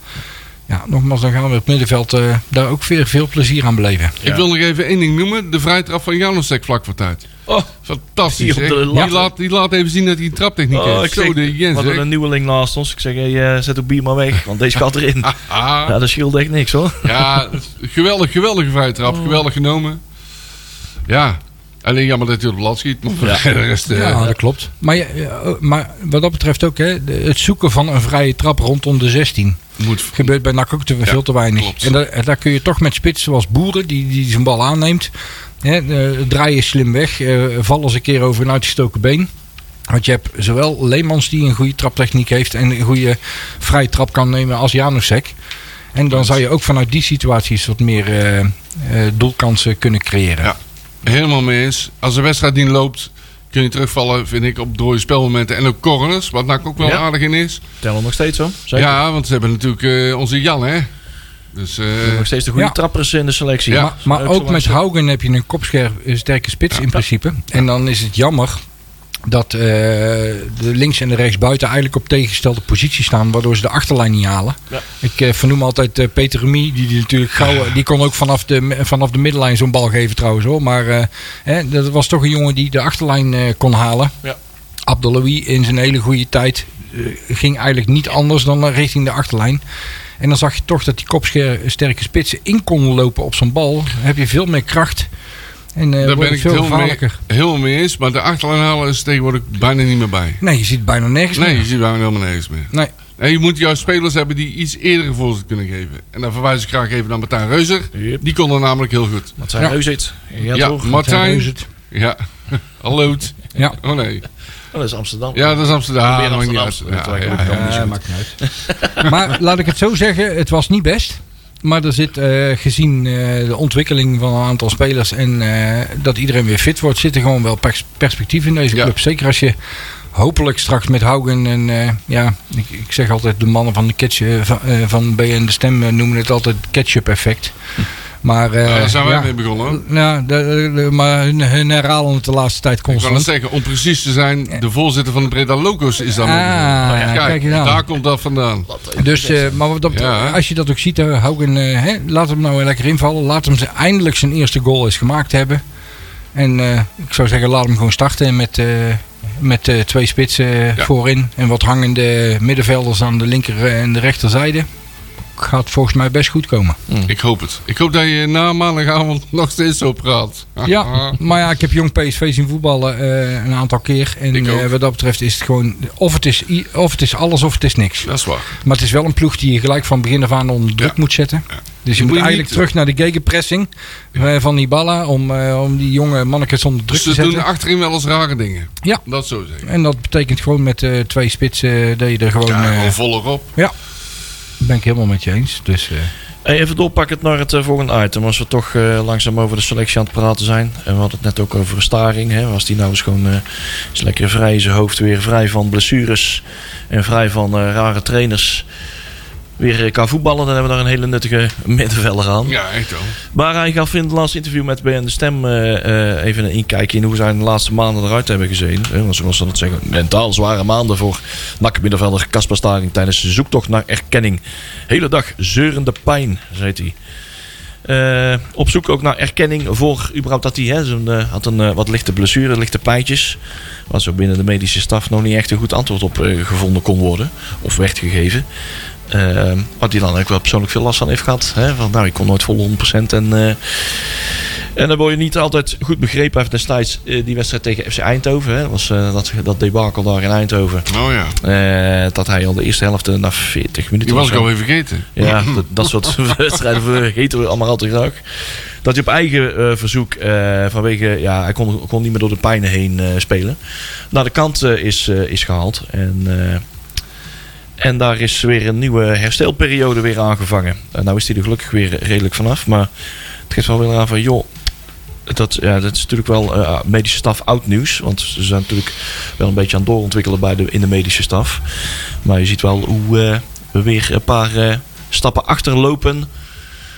S4: Ja, nogmaals, dan gaan we op het middenveld eh, daar ook weer veel plezier aan beleven.
S3: Ik wil nog even één ding noemen. De vrijtrap van Janosek vlak voor tijd.
S2: Oh,
S3: Fantastisch,
S2: Die
S3: hè?
S2: op de
S3: Die
S2: lat.
S3: laat, die laat even zien dat hij een traptechniek
S2: oh, ik
S3: heeft. Zo
S2: zeg,
S3: de
S2: we
S3: Jens,
S2: hadden
S3: hè?
S2: een nieuweling naast ons. Ik zeg, hey, eh, zet ook bier maar weg, want deze gaat erin.
S3: Ah,
S2: Ja, dat scheelt echt niks hoor.
S3: ja, geweldig, geweldige vrijtrap.
S4: Oh.
S3: Geweldig genomen. Ja, alleen jammer dat hij op het lat schiet. Maar voor de rest... eh,
S4: Ja, dat klopt. Maar, ja, ja, oh, maar wat dat betreft ook, hè, de- het zoeken van een vrije trap rondom de 16.
S3: Moet,
S4: Gebeurt bij NAC ook te, veel te weinig.
S3: klopt.
S4: En daar, en daar kun je toch met spitsen zoals Boeren, die, die zijn bal aanneemt. Hè, eh, draaien slim weg, eh, vallen eens een keer over een uitgestoken been. Want je hebt zowel Leemans die een goede traptechniek heeft en een goede vrije trap kan nemen als Janusek. En dan zou je ook vanuit die situaties wat meer eh, eh, doelkansen kunnen creëren.
S3: Ja. Helemaal mee eens. Als de wedstrijd niet loopt, kun je terugvallen, vind ik, op dode spelmomenten. En ook corners, wat NAC ook wel
S2: Ja.
S3: aardig in is.
S2: Tellen nog steeds hoor. Zeker.
S3: Ja, want ze hebben natuurlijk eh, onze Jan, hè. Dus, eh,
S2: Nog steeds de goede
S4: Ja.
S2: trappers in de selectie.
S3: Ja.
S4: Maar, maar ook met Haugen heb je een kopscherp een sterke spits in principe. En dan is het jammer dat eh, de links en de rechts buiten eigenlijk op tegengestelde positie staan, waardoor ze de achterlijn niet halen.
S2: Ja.
S4: Ik eh, vernoem altijd eh, Peter Remy, die, die natuurlijk gauw, die kon ook vanaf de, vanaf de middenlijn zo'n bal geven trouwens hoor. Maar eh, hè, dat was toch een jongen die de achterlijn eh, kon halen.
S2: Ja.
S4: Abdeloui in zijn hele goede tijd eh, ging eigenlijk niet anders dan eh, richting de achterlijn. En dan zag je toch dat die kopsterke spitsen in konden lopen op zo'n bal. Dan heb je veel meer kracht. En eh
S3: daar
S4: wordt
S3: ben
S4: het
S3: ik
S4: veel
S3: het heel mee,
S4: gevaarlijker.
S3: heel mee eens. Maar de achterlijn halen is tegenwoordig bijna niet meer bij.
S4: Nee, je ziet bijna nergens
S3: Nee,
S4: meer.
S3: je ziet bijna helemaal nergens meer.
S4: Nee.
S3: En je moet juist spelers hebben die iets eerder een voorzet kunnen geven. En dan verwijs ik graag even naar Martijn Reuzer.
S2: Yep.
S3: Die kon er namelijk heel goed.
S2: Wat zijn
S4: Ja.
S2: Reuzit. Ja,
S3: Ja,
S2: toch?
S3: Martijn.
S4: Reuze het.
S3: Ja, hallo.
S4: Ja.
S3: Oh nee.
S2: Oh, dat is Amsterdam.
S3: Ja, dat is Amsterdam. Ah,
S2: Probeer
S3: dat maakt niet
S2: Amsterdam.
S3: uit.
S2: Dat
S3: Ja,
S2: lijkt
S3: ja,
S2: me
S3: ja.
S2: ook
S4: Ja, maakt niet uit. maar laat ik het zo zeggen, het was niet best. Maar er zit, eh, gezien eh, de ontwikkeling van een aantal spelers en eh, dat iedereen weer fit wordt, zit er gewoon wel pers- perspectief in deze
S3: Ja.
S4: club. Zeker als je hopelijk straks met Haugen en eh, ja, ik, ik zeg altijd de mannen van de ketchup van, eh, van BN de Stem eh, noemen het altijd ketchup effect. Maar, eh,
S3: Nou, daar zijn wij
S4: ja,
S3: mee begonnen. hoor.
S4: Ja, de- de- de- maar hun, hun herhalen het de laatste tijd
S3: Ik kan het
S4: constant.
S3: zeggen, om precies te zijn, de voorzitter van de Breda Locos is dan.
S4: Ah,
S3: Nou kijk,
S4: kijk nou. eens aan.
S3: daar komt dat vandaan.
S4: Dus, eh, maar wat dat-
S3: Ja.
S4: als je dat ook ziet, eh, Haugen, eh, hè, laat hem nou weer lekker invallen. Laat hem zijn- eindelijk zijn eerste goal eens gemaakt hebben. En eh, ik zou zeggen, laat hem gewoon starten met, eh, met eh, twee spitsen eh,
S3: Ja.
S4: voorin. En wat hangende middenvelders aan de linker eh, en de rechterzijde. Gaat volgens mij best goed komen.
S3: Ik hoop het. Ik hoop dat je na maandagavond nog steeds zo praat.
S4: Ja, maar ja, ik heb jong PSV zien voetballen eh, een aantal keer. En
S3: Ik ook.
S4: eh, wat dat betreft is het gewoon, of het is, i- of het is alles of het is niks.
S3: Dat is waar.
S4: Maar het is wel een ploeg die je gelijk van begin af aan onder druk moet zetten. Dus je
S3: Moet
S4: moet
S3: je
S4: eigenlijk
S3: niet- eh,
S4: terug naar de gegenpressing eh, van Nibala. Om, eh, om die jonge mannetjes onder druk
S3: Dus
S4: te
S3: ze
S4: zetten.
S3: doen achterin wel eens rare dingen.
S4: Ja.
S3: Dat zo zeggen.
S4: En dat betekent gewoon met eh, twee spitsen eh, dat je er gewoon...
S3: Ja,
S4: eh,
S3: gewoon volop.
S4: ben ik helemaal met je eens. Dus, eh,
S2: Hey, even doorpakken naar het eh, volgende item. Als we toch eh, langzaam over de selectie aan het praten zijn. En we hadden het net ook over Staring. Hè. Was die nou eens gewoon eh, eens lekker vrij in zijn hoofd weer. Vrij van blessures en vrij van eh, rare trainers. Weer eh, kan voetballen. Dan hebben we daar een hele nuttige middenvelder aan.
S3: Ja, echt wel.
S2: Maar hij gaf in het laatste interview met BN De Stem eh, eh, even een inkijkje in hoe zij de laatste maanden eruit hebben gezien. Eh, want zoals ze dat zeggen, mentaal zware maanden voor NAC middenvelder Kasper Staring tijdens de zoektocht naar erkenning. Hele dag zeurende pijn, zei hij. Eh, op zoek ook naar erkenning voor überhaupt dat hij hè, zo'n, eh, had een eh, wat lichte blessure, lichte pijntjes. Waar zo binnen de medische staf nog niet echt een goed antwoord op eh, gevonden kon worden. Of werd gegeven. Eh, wat hij dan ook wel persoonlijk veel last van heeft gehad. Hè? Van, nou, ik kon nooit vol 100% en... eh, en dan word je niet altijd goed begrepen. Heeft destijds eh, die wedstrijd tegen FC Eindhoven. Hè? Dat was eh, dat, dat debakel daar in Eindhoven.
S3: Oh ja.
S2: Eh, dat hij al de eerste helft eh, na 40 minuten
S3: Die was
S2: of
S3: ik
S2: zo-
S3: alweer vergeten.
S2: ja, dat, dat soort wedstrijden vergeten we allemaal al te graag. Dat hij op eigen eh, verzoek eh, vanwege... Ja, hij kon, kon niet meer door de pijn heen eh, spelen. Naar de kant eh, is, eh, is gehaald. En, eh, en daar is weer een nieuwe herstelperiode weer aangevangen. En nou is hij er gelukkig weer redelijk vanaf. Maar het geeft wel weer aan van... joh, dat, ja, dat is natuurlijk wel eh, medische staf oud nieuws. Want ze zijn natuurlijk wel een beetje aan het doorontwikkelen bij de, in de medische staf. Maar je ziet wel hoe eh, we weer een paar eh, stappen achterlopen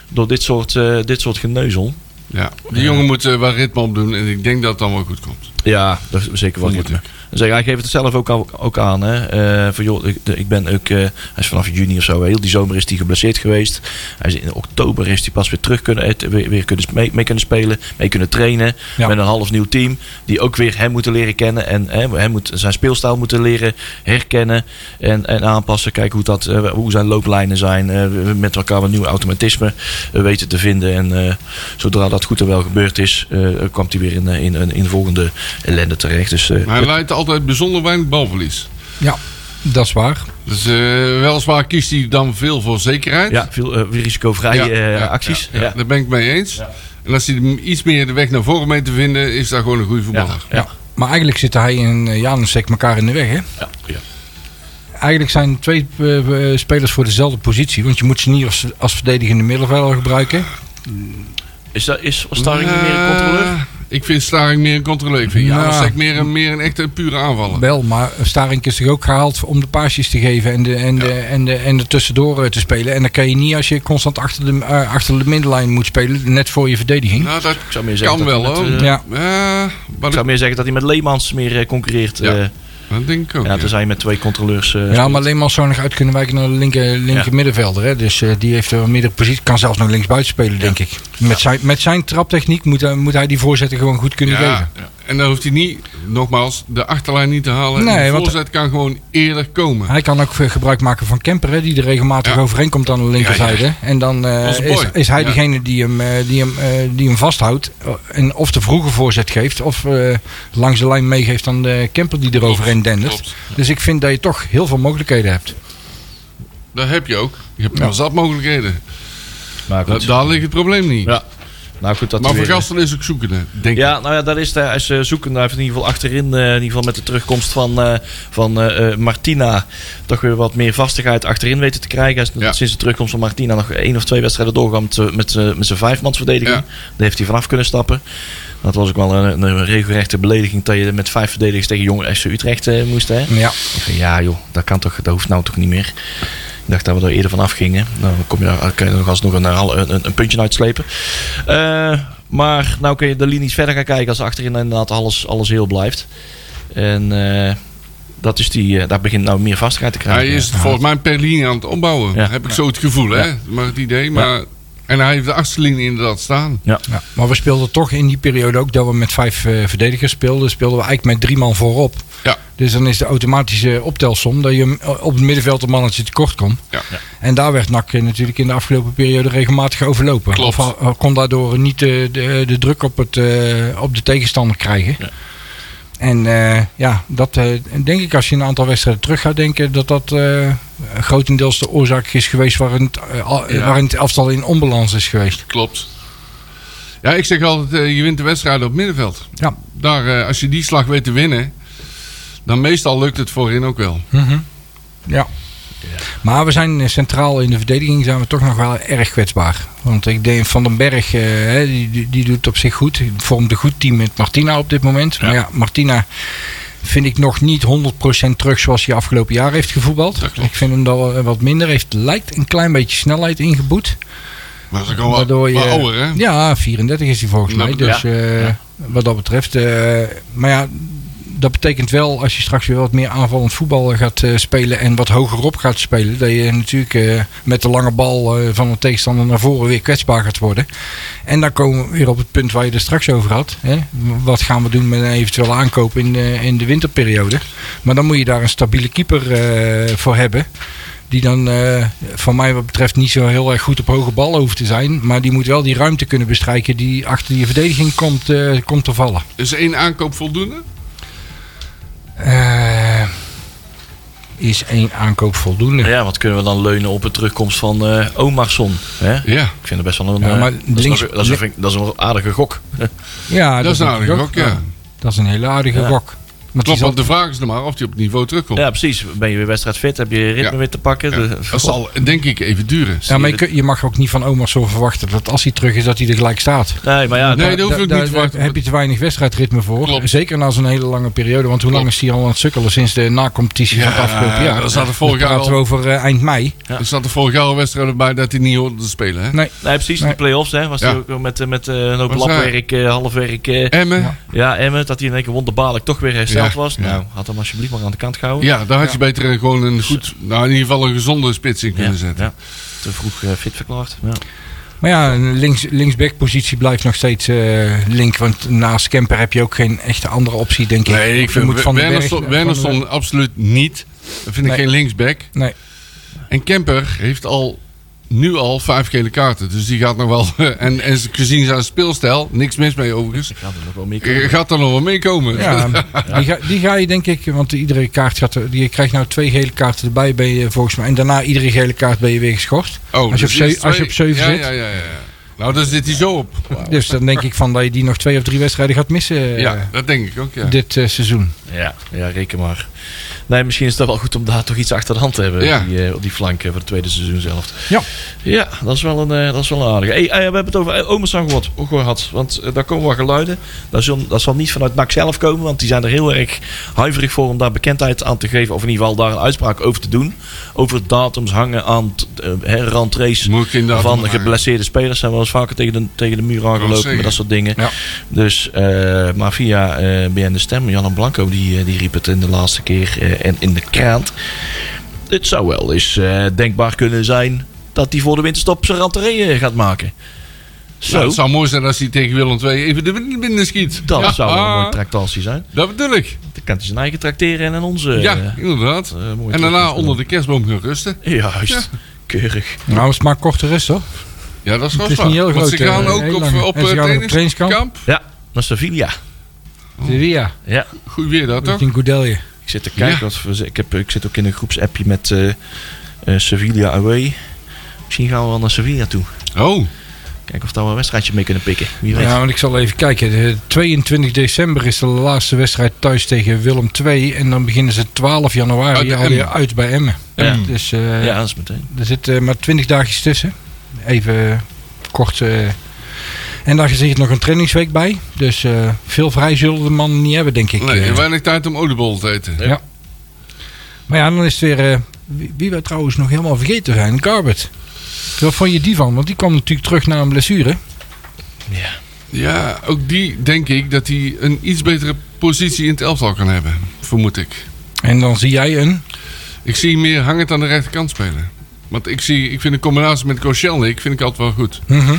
S2: door dit soort, eh, dit soort geneuzel.
S3: Ja. Die jongen moet eh wel ritme op doen en ik denk dat het dan wel goed komt.
S2: Ja, dat is zeker wel
S3: Vermoed
S2: ritme. Zeg, hij geeft het zelf ook, al- ook aan. Hè? Eh, van, joh, ik, ik ben ook, eh, hij is vanaf juni of zo, heel die zomer is hij geblesseerd geweest. Hij is, in oktober is hij pas weer terug kunnen, eh, weer, weer kunnen, mee, mee kunnen spelen, mee kunnen trainen.
S4: Ja.
S2: Met een half nieuw team. Die ook weer hem moeten leren kennen. En hè, hem moet, zijn speelstijl moeten leren herkennen en, en aanpassen. Kijken hoe, dat, eh, hoe zijn looplijnen zijn. eh, we- we met elkaar een nieuw automatisme eh, weten te vinden. En eh, zodra dat goed en wel gebeurd is, eh, kwam hij weer in, eh, in, in, in de volgende ellende terecht. Dus eh,
S3: Maar hij leidt altijd bijzonder weinig balverlies.
S4: Ja, dat is waar.
S3: Dus eh, weliswaar kiest hij dan veel voor zekerheid.
S2: ja, veel eh, risicovrije eh,
S3: ja,
S2: acties.
S3: ja, ja.
S2: Ja.
S3: Daar ben ik mee eens. En als hij hem iets meer de weg naar voren mee te vinden, is daar gewoon een goede voetballer.
S2: Ja.
S4: Ja. Maar eigenlijk zitten hij en eh, Janusek elkaar in de weg, hè?
S2: Ja, ja.
S4: Eigenlijk zijn twee eh, eh, spelers voor dezelfde positie. Want je moet ze niet als, als verdedigende middenvelder gebruiken.
S2: Is, dat, is Staring niet meer een controleur?
S3: Eh, Ik vind Staring meer een controleur. Ik vind
S4: Ja.
S3: Janusek meer, een- meer een echte pure aanvaller.
S4: Wel, maar Starink is toch ook gehaald om de paasjes te geven en de, en de, en de, en de tussendoor eh, te spelen. En dat kan je niet als je constant achter de, eh, achter de middenlijn moet spelen, net voor je verdediging.
S3: Nou, dat
S2: zou meer zeggen
S3: kan
S2: dat
S3: wel
S2: hij
S3: hoor.
S2: met, eh,
S4: Ja.
S3: Eh, maar
S2: Ik zou meer zeggen dat hij met Leemans meer eh, concurreert.
S3: Ja.
S2: eh,
S3: dat denk ik ook.
S2: ja,
S3: ja.
S2: tenzij je met twee controleurs eh,
S4: Ja, maar alleen maar zou nog uit kunnen wijken naar de linker, linker
S2: Ja.
S4: middenvelder. Hè? Dus eh, die heeft een meerdere positie. Kan zelfs nog linksbuiten spelen, denk ik. Met, zijn, met zijn traptechniek moet, hij- moet hij die voorzetten gewoon goed kunnen
S3: Ja,
S4: geven.
S3: en dan hoeft hij niet, nogmaals, de achterlijn niet te halen.
S4: Nee,
S3: de
S4: want-
S3: voorzet kan gewoon eerder komen.
S4: Hij kan ook eh, gebruik maken van Kemper, hè, die er regelmatig
S3: Ja.
S4: overheen komt aan de linkerzijde. En dan eh,
S3: Onze boy.
S4: is, is hij
S3: Ja.
S4: degene die hem, eh, die, hem, eh, die hem vasthoudt. En of de vroege voorzet geeft, of eh, langs de lijn meegeeft aan de Kemper die er overheen dendert.
S3: klopt.
S4: Dus ik vind dat je toch heel veel mogelijkheden hebt.
S3: Dat heb je ook. Je hebt wel zat mogelijkheden.
S2: Maar
S3: Da-
S2: goed.
S3: daar ligt het probleem niet.
S2: ja. Nou goed, dat
S3: maar
S2: hij
S3: voor
S2: weer-
S3: Gastel is ook zoekende, denk ik.
S2: Ja, nou ja, daar is hij. Hij is eh, zoekende. Hij heeft in ieder geval achterin, eh, in ieder geval met de terugkomst van, eh, van eh, eh, Martina, toch weer wat meer vastigheid achterin weten te krijgen. Hij is
S3: Ja.
S2: sinds de terugkomst van Martina nog één of twee wedstrijden doorgaan met, eh, met, eh, met zijn vijfmansverdediging. Daar
S3: Ja.
S2: heeft hij vanaf kunnen stappen. Dat was ook wel een, een regelrechte belediging dat je met vijf verdedigers tegen jonge FC Utrecht eh, moest. Hè?
S4: Ja.
S2: Ik zei, ja joh, dat kan toch, dat hoeft nou toch niet meer. Ik dacht dat we er eerder vanaf gingen. Nou, dan kom je, daar- kan je er nog alsnog een, een, een- een puntje uitslepen. Eh, maar nou kun je de linies verder gaan kijken als achterin inderdaad alles, alles heel blijft. En eh, dat is die, eh, daar begint nou meer vastigheid te krijgen.
S3: Hij is volgens mij per linie aan het opbouwen.
S2: Ja.
S3: Heb ik zo het gevoel, hè? Maar het idee. Maar... En hij heeft de achtste linie inderdaad staan.
S4: Ja, maar we speelden toch in die periode ook dat we met vijf eh, verdedigers speelden. Speelden we eigenlijk met drie man voorop.
S3: Ja.
S4: Dus dan is de automatische optelsom dat je eh, op het middenveld een mannetje tekort komt.
S3: Ja. Ja.
S4: En daar werd NAC eh, natuurlijk in de afgelopen periode regelmatig overlopen.
S3: Klopt.
S4: Of eh, kon daardoor niet eh, de, de, druk op, het, eh, op de tegenstander krijgen. En eh, ja, dat eh, denk ik als je een aantal wedstrijden terug gaat denken, dat dat eh, grotendeels de oorzaak is geweest waarin het, eh, al-
S3: Ja.
S4: waarin het elftal in onbalans is geweest.
S3: Klopt. Ja, ik zeg altijd, eh, je wint de wedstrijd op het middenveld.
S4: Ja.
S3: Daar, eh, als je die slag weet te winnen, dan meestal lukt het voorin ook wel.
S4: Mhm. Ja. Maar we zijn eh, centraal in de verdediging zijn we toch nog wel erg kwetsbaar. Want ik denk Van den Berg, eh, hè, die, die- die doet het op zich goed. Die vormt een goed team met Martina op dit moment. Maar ja, Martina vind ik nog niet 100% terug zoals hij afgelopen jaar heeft gevoetbald.
S3: Dat klopt.
S4: Ik vind hem dan wel, eh, wat minder. Heeft lijkt een klein beetje snelheid ingeboet.
S3: Maar ze kan wel,
S4: Waardoor je,
S3: wel ouder, hè? Nou,
S4: Ja, 34 is hij volgens
S3: Dat
S4: mij. Dus
S3: betreft-
S4: eh, wat dat betreft. eh, maar ja, dat betekent wel als je straks weer wat meer aanvallend voetbal gaat eh, spelen. En wat hogerop gaat spelen. Dat je natuurlijk eh, met de lange bal eh, van een tegenstander naar voren weer kwetsbaar gaat worden. En dan komen we weer op het punt waar je er straks over had. Hè? Wat gaan we doen met een eventuele aankoop in de, in de winterperiode? Maar dan moet je daar een stabiele keeper eh, voor hebben. Die dan eh, van mij wat betreft niet zo heel erg goed op hoge bal hoeft te zijn. Maar die moet wel die ruimte kunnen bestrijken die achter je verdediging komt, eh, komt te vallen.
S3: Is één aankoop voldoende?
S4: Eh, is één aankoop voldoende?
S2: Ja, wat kunnen we dan leunen op de terugkomst van eh Omarsson? Hè?
S3: Ja.
S2: Ik vind het best wel een...
S4: Ja,
S2: eh,
S4: maar
S2: dat, is
S4: links-
S2: nog- dat, is een, dat is een aardige gok.
S4: Ja,
S3: Dat is een
S4: denk ik
S3: aardige gok, ja.
S4: Dat is een hele aardige
S2: Ja.
S4: gok. Want die
S3: Klopt,
S4: zal-
S3: want de vraag is nog maar of hij op het niveau terugkomt.
S2: Ja, precies. Ben je weer wedstrijdfit? Heb je je ritme
S3: Ja.
S2: weer te pakken?
S3: Ja.
S2: De-
S3: Dat zal denk ik even duren.
S4: ja, maar je, kun- je mag ook niet van Omar zo verwachten dat als hij terug is, dat hij er gelijk staat.
S2: Nee, maar ja,
S3: Nee, dat hoeft ook niet te verwachten.
S4: heb je te weinig wedstrijdritme voor.
S3: Klopt.
S4: Zeker na zo'n hele lange periode. Want hoe lang
S3: Klopt.
S4: is hij al aan het sukkelen sinds de nacompetitie van het afgelopen jaar?
S3: Er zaten
S4: Dan
S3: vorig jaar
S4: praten we
S3: al,
S4: over eh, eind mei.
S3: er zaten vorig jaar al wedstrijden bij dat hij niet hoorde te spelen. Hè?
S4: Nee,
S2: nee, precies.
S4: Nee.
S2: Die play-offs, hè. Was
S3: Ja.
S2: hij ook weer met, eh, met eh, een hoop
S3: Was hij-
S2: lapwerk, eh, halfwerk. eh,
S3: Emmen, ja,
S4: Ja.
S2: ja, Emmen. Dat hij in één keer wonderbaarlijk toch weer hersteld
S3: Ja,
S2: was.
S3: ja.
S2: Nou, had hem alsjeblieft maar aan de kant gehouden.
S3: daar had je beter gewoon een goed, nou in ieder geval een gezonde spits in kunnen
S2: Ja,
S3: zetten.
S2: ja. Te vroeg eh, fit verklaard. Ja.
S4: Maar ja, een links, linksbackpositie blijft nog steeds eh, link. Want naast Kemper heb je ook geen echte andere optie, denk ik.
S3: Nee, ik
S4: Je
S3: vind
S4: den Berg-
S3: Wernersson
S4: Van den Berg-
S3: Wernersson absoluut niet. Dat vind ik
S4: Nee.
S3: geen linksback.
S4: Nee.
S3: En Kemper heeft al nu al vijf gele kaarten. Dus die gaat nog wel. En, en gezien zijn speelstijl, niks mis mee overigens. Eh,
S2: Ik had er nog wel meer kunnen.
S3: Gaat er nog wel meekomen.
S4: Ja, die, ga, die ga je denk ik, want iedere kaart gaat er, je krijgt nou twee gele kaarten erbij ben je volgens mij. En daarna iedere gele kaart ben je weer geschorst.
S3: Oh,
S4: als, je op
S3: dus
S4: ze-
S3: die is
S4: als je
S3: twee.
S4: op zeven
S3: ja,
S4: zit.
S3: Ja, ja, ja, ja. Nou, dan zit hij zo op.
S4: Dus dan denk ik van dat je die nog twee of drie wedstrijden gaat missen eh,
S3: ja, dat denk ik ook. Ja.
S4: dit eh, seizoen.
S2: Ja, ja, reken maar. Nee, misschien is het wel goed om daar toch iets achter de hand te hebben.
S3: Ja.
S2: Die, eh, op die flank eh, voor het tweede seizoen zelf.
S4: Ja.
S2: Ja, dat is wel een, eh, dat is wel een aardige. Hey, eh, we hebben het over eh, Omersan gehoord, gehad. Want eh, daar komen wel geluiden. Dat zal, dat zal niet vanuit NAC zelf komen. Want die zijn er heel erg huiverig voor om daar bekendheid aan te geven. Of in ieder geval daar een uitspraak over te doen. Over datums hangen aan t- eh, hè, randtrace
S3: Moet ik inderdaad
S2: van
S3: maar-
S2: geblesseerde spelers. Zijn wel eens vaker tegen de, tegen de muur aangelopen
S3: zeggen.
S2: met dat soort dingen.
S4: Ja.
S2: Dus, eh, maar via eh BN de Stem, Jan en Blanco, die, eh, die riep het in de laatste keer eh, en in de krant. Het zou wel eens eh, denkbaar kunnen zijn dat hij voor de winterstop zijn ranteree gaat maken. Zo,
S3: Nou, het zou mooi zijn als hij tegen Willem II even de wind binnen schiet.
S2: dat
S3: Ja,
S2: zou wel een
S3: ah,
S2: mooie tractatie zijn.
S3: Dat bedoel ik.
S2: Dan kan hij zijn eigen tracteren en aan onze.
S3: Ja,
S2: eh,
S3: inderdaad.
S2: eh, mooie
S3: en daarna
S2: tractatie
S3: onder de kerstboom gaan rusten.
S2: doen. Juist, keurig.
S4: Nou, is het maar korte rust hoor.
S3: Ja, dat is
S4: Het
S3: gewoon
S4: is
S3: waar.
S4: niet heel
S3: Want ze
S4: groot,
S3: gaan
S4: eh,
S3: ook
S4: heel
S3: op,
S4: lang.
S3: op
S4: En ze
S3: eh,
S4: gaan op
S3: trainingskamp.
S4: trainingskamp.
S2: Ja, naar Sevilla.
S4: Sevilla,
S2: Ja,
S3: Goed weer dat, Oh. toch?
S4: richting Goudelje.
S2: ik zit te kijken.
S3: Ja.
S2: Wat we, ik, heb, ik zit ook in een groepsappje met eh, eh, Sevilla Away. Misschien gaan we wel naar Sevilla toe.
S3: Oh,
S2: Kijken of daar wel een wedstrijdje mee kunnen pikken. Wie weet.
S4: Ja, want ik zal even kijken. De 22 december is de laatste wedstrijd thuis tegen Willem II. En dan beginnen ze 12
S3: Uit
S4: januari
S3: bij
S4: alweer
S3: Emmen.
S4: uit bij Emmen.
S2: Ja.
S4: Dus eh,
S2: Ja, dat is meteen.
S4: er zitten eh, maar 20 dagjes tussen. Even kort. eh, en daar zit nog een trainingsweek bij. Dus eh, veel vrij zullen de mannen niet hebben, denk ik.
S3: nee,
S4: Eh,
S3: weinig tijd om oliebol te eten.
S2: Nee.
S4: maar ja, dan is het weer... eh, wie, wie we trouwens nog helemaal vergeten zijn, Garbert. Wat vond je die van? Want die kwam natuurlijk terug na een blessure.
S2: Ja.
S3: Ja, ook die denk ik dat hij een iets betere positie in het elftal kan hebben. Vermoed ik.
S4: En dan zie jij een...
S3: Ik zie hem meer hangend aan de rechterkant spelen. Want ik, zie, ik vind de combinatie met Koscielnik vind ik altijd wel goed.
S4: Mhm.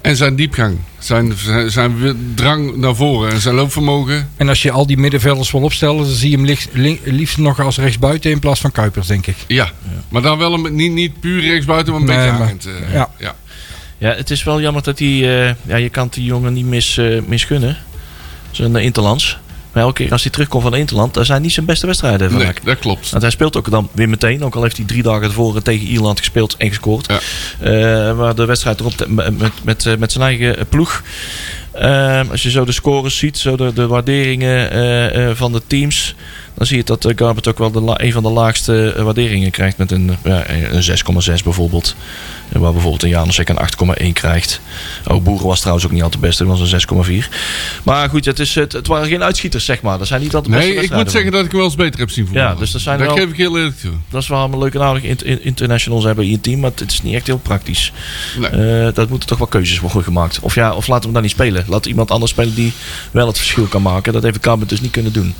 S3: En zijn diepgang, zijn, zijn, zijn wi- drang naar voren en zijn loopvermogen.
S4: En als je al die middenvelders wil opstellen, dan zie je hem licht- li- liefst nog als rechtsbuiten in plaats van Kuipers, denk ik.
S3: Ja, maar dan wel een, niet, niet puur rechtsbuiten, maar een
S4: Nee,
S3: beetje
S4: maar-
S3: hangend. eh,
S4: ja.
S3: ja.
S2: ja, het is wel jammer dat hij... eh, ja, je kan het die jongen niet mis, eh, misgunnen. Zijn eh, Interlands. Maar elke keer als hij terugkomt van de Interland... dat zijn niet zijn beste wedstrijden van
S3: Nee,
S2: NAC.
S3: dat klopt.
S2: Want hij speelt ook dan weer meteen. Ook al heeft hij drie dagen tevoren tegen Ierland gespeeld en gescoord.
S3: Ja.
S2: Eh, maar de wedstrijd erop te- met, met, met, eh, met zijn eigen eh, ploeg. Ehm, Eh, als je zo de scores ziet, zo de, de waarderingen eh, eh, van de teams. dan zie je dat eh, Garbert ook wel de la- een van de laagste eh, waarderingen krijgt. Met een, ja, eh, een 6,6 bijvoorbeeld. Eh, Waar bijvoorbeeld een Janusek een 8,1 krijgt. Ook Boeren was trouwens ook niet altijd best. Dat was een 6,4. Maar goed, het, is, het, het waren geen uitschieters, zeg maar. Dat zijn niet altijd de beste
S3: Nee, ik moet
S2: wedstrijden
S3: zeggen dat ik hem wel eens beter heb zien voetballen.
S2: Ja, dus dat zijn wel-
S3: geef ik heel eerlijk toe.
S2: dat is wel allemaal leuk en aardig int- in- internationals hebben in je team, maar het is niet echt heel praktisch.
S3: Nee.
S2: Eh, dat moeten toch wel keuzes worden gemaakt. Of ja, of laten we hem dan niet spelen. Laat iemand anders spelen die wel het verschil kan maken. Dat heeft Kamer dus niet kunnen doen.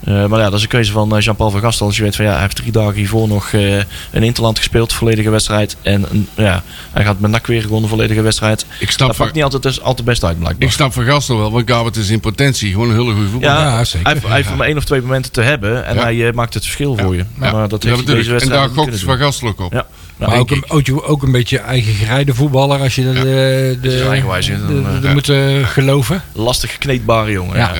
S2: Eh, maar ja, dat is een keuze van eh, Jean-Paul van Gastel. Als je weet van ja, hij heeft drie dagen hiervoor nog eh, een interland gespeeld, volledige wedstrijd. En een- ja, hij gaat met NAC weer gewonnen, volledige wedstrijd.
S3: Ik snap,
S2: Dat
S3: van,
S2: pakt niet altijd, dus altijd best uit, blijkbaar.
S3: ik snap van Gastel wel, want Gabert is in potentie gewoon een hele goede voetballer.
S2: Ja,
S4: Ja, zeker.
S2: hij heeft- hij heeft maar één of twee momenten te hebben en
S3: Ja.
S2: hij eh, maakt het verschil voor je.
S3: Ja,
S2: Maar dat heeft hij deze
S3: En
S2: wedstrijd
S3: daar
S2: niet kunnen
S3: gokt
S2: doen.
S3: Van Gastel ook op.
S2: Ja. Nou,
S4: Maar
S2: ik-
S4: ook een, ook, je- ook een beetje eigen gerijde voetballer als je dat, eh, de,
S2: Dit is eigenwijs, hè,
S4: de-
S2: dan, eh,
S4: de- de
S3: ja.
S4: moet eh, geloven.
S2: lastig gekneedbare jongen.
S4: Ja.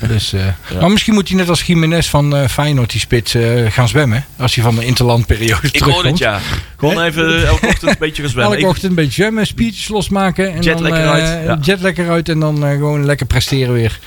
S2: Ja.
S4: Dus, eh, Maar misschien moet hij net als Jiménez van eh, Feyenoord die spits eh, gaan zwemmen. Als hij van de interlandperiode
S2: Ik hoor het,
S4: terugkomt.
S2: ja. Gewoon even eh, elke ochtend een beetje gaan zwemmen.
S4: Elke
S2: Ik,
S4: ochtend een beetje zwemmen, spiertjes losmaken. En
S2: Jet
S4: dan,
S2: lekker
S4: eh,
S2: uit, ja.
S4: Jet lekker uit en dan eh, gewoon lekker presteren weer.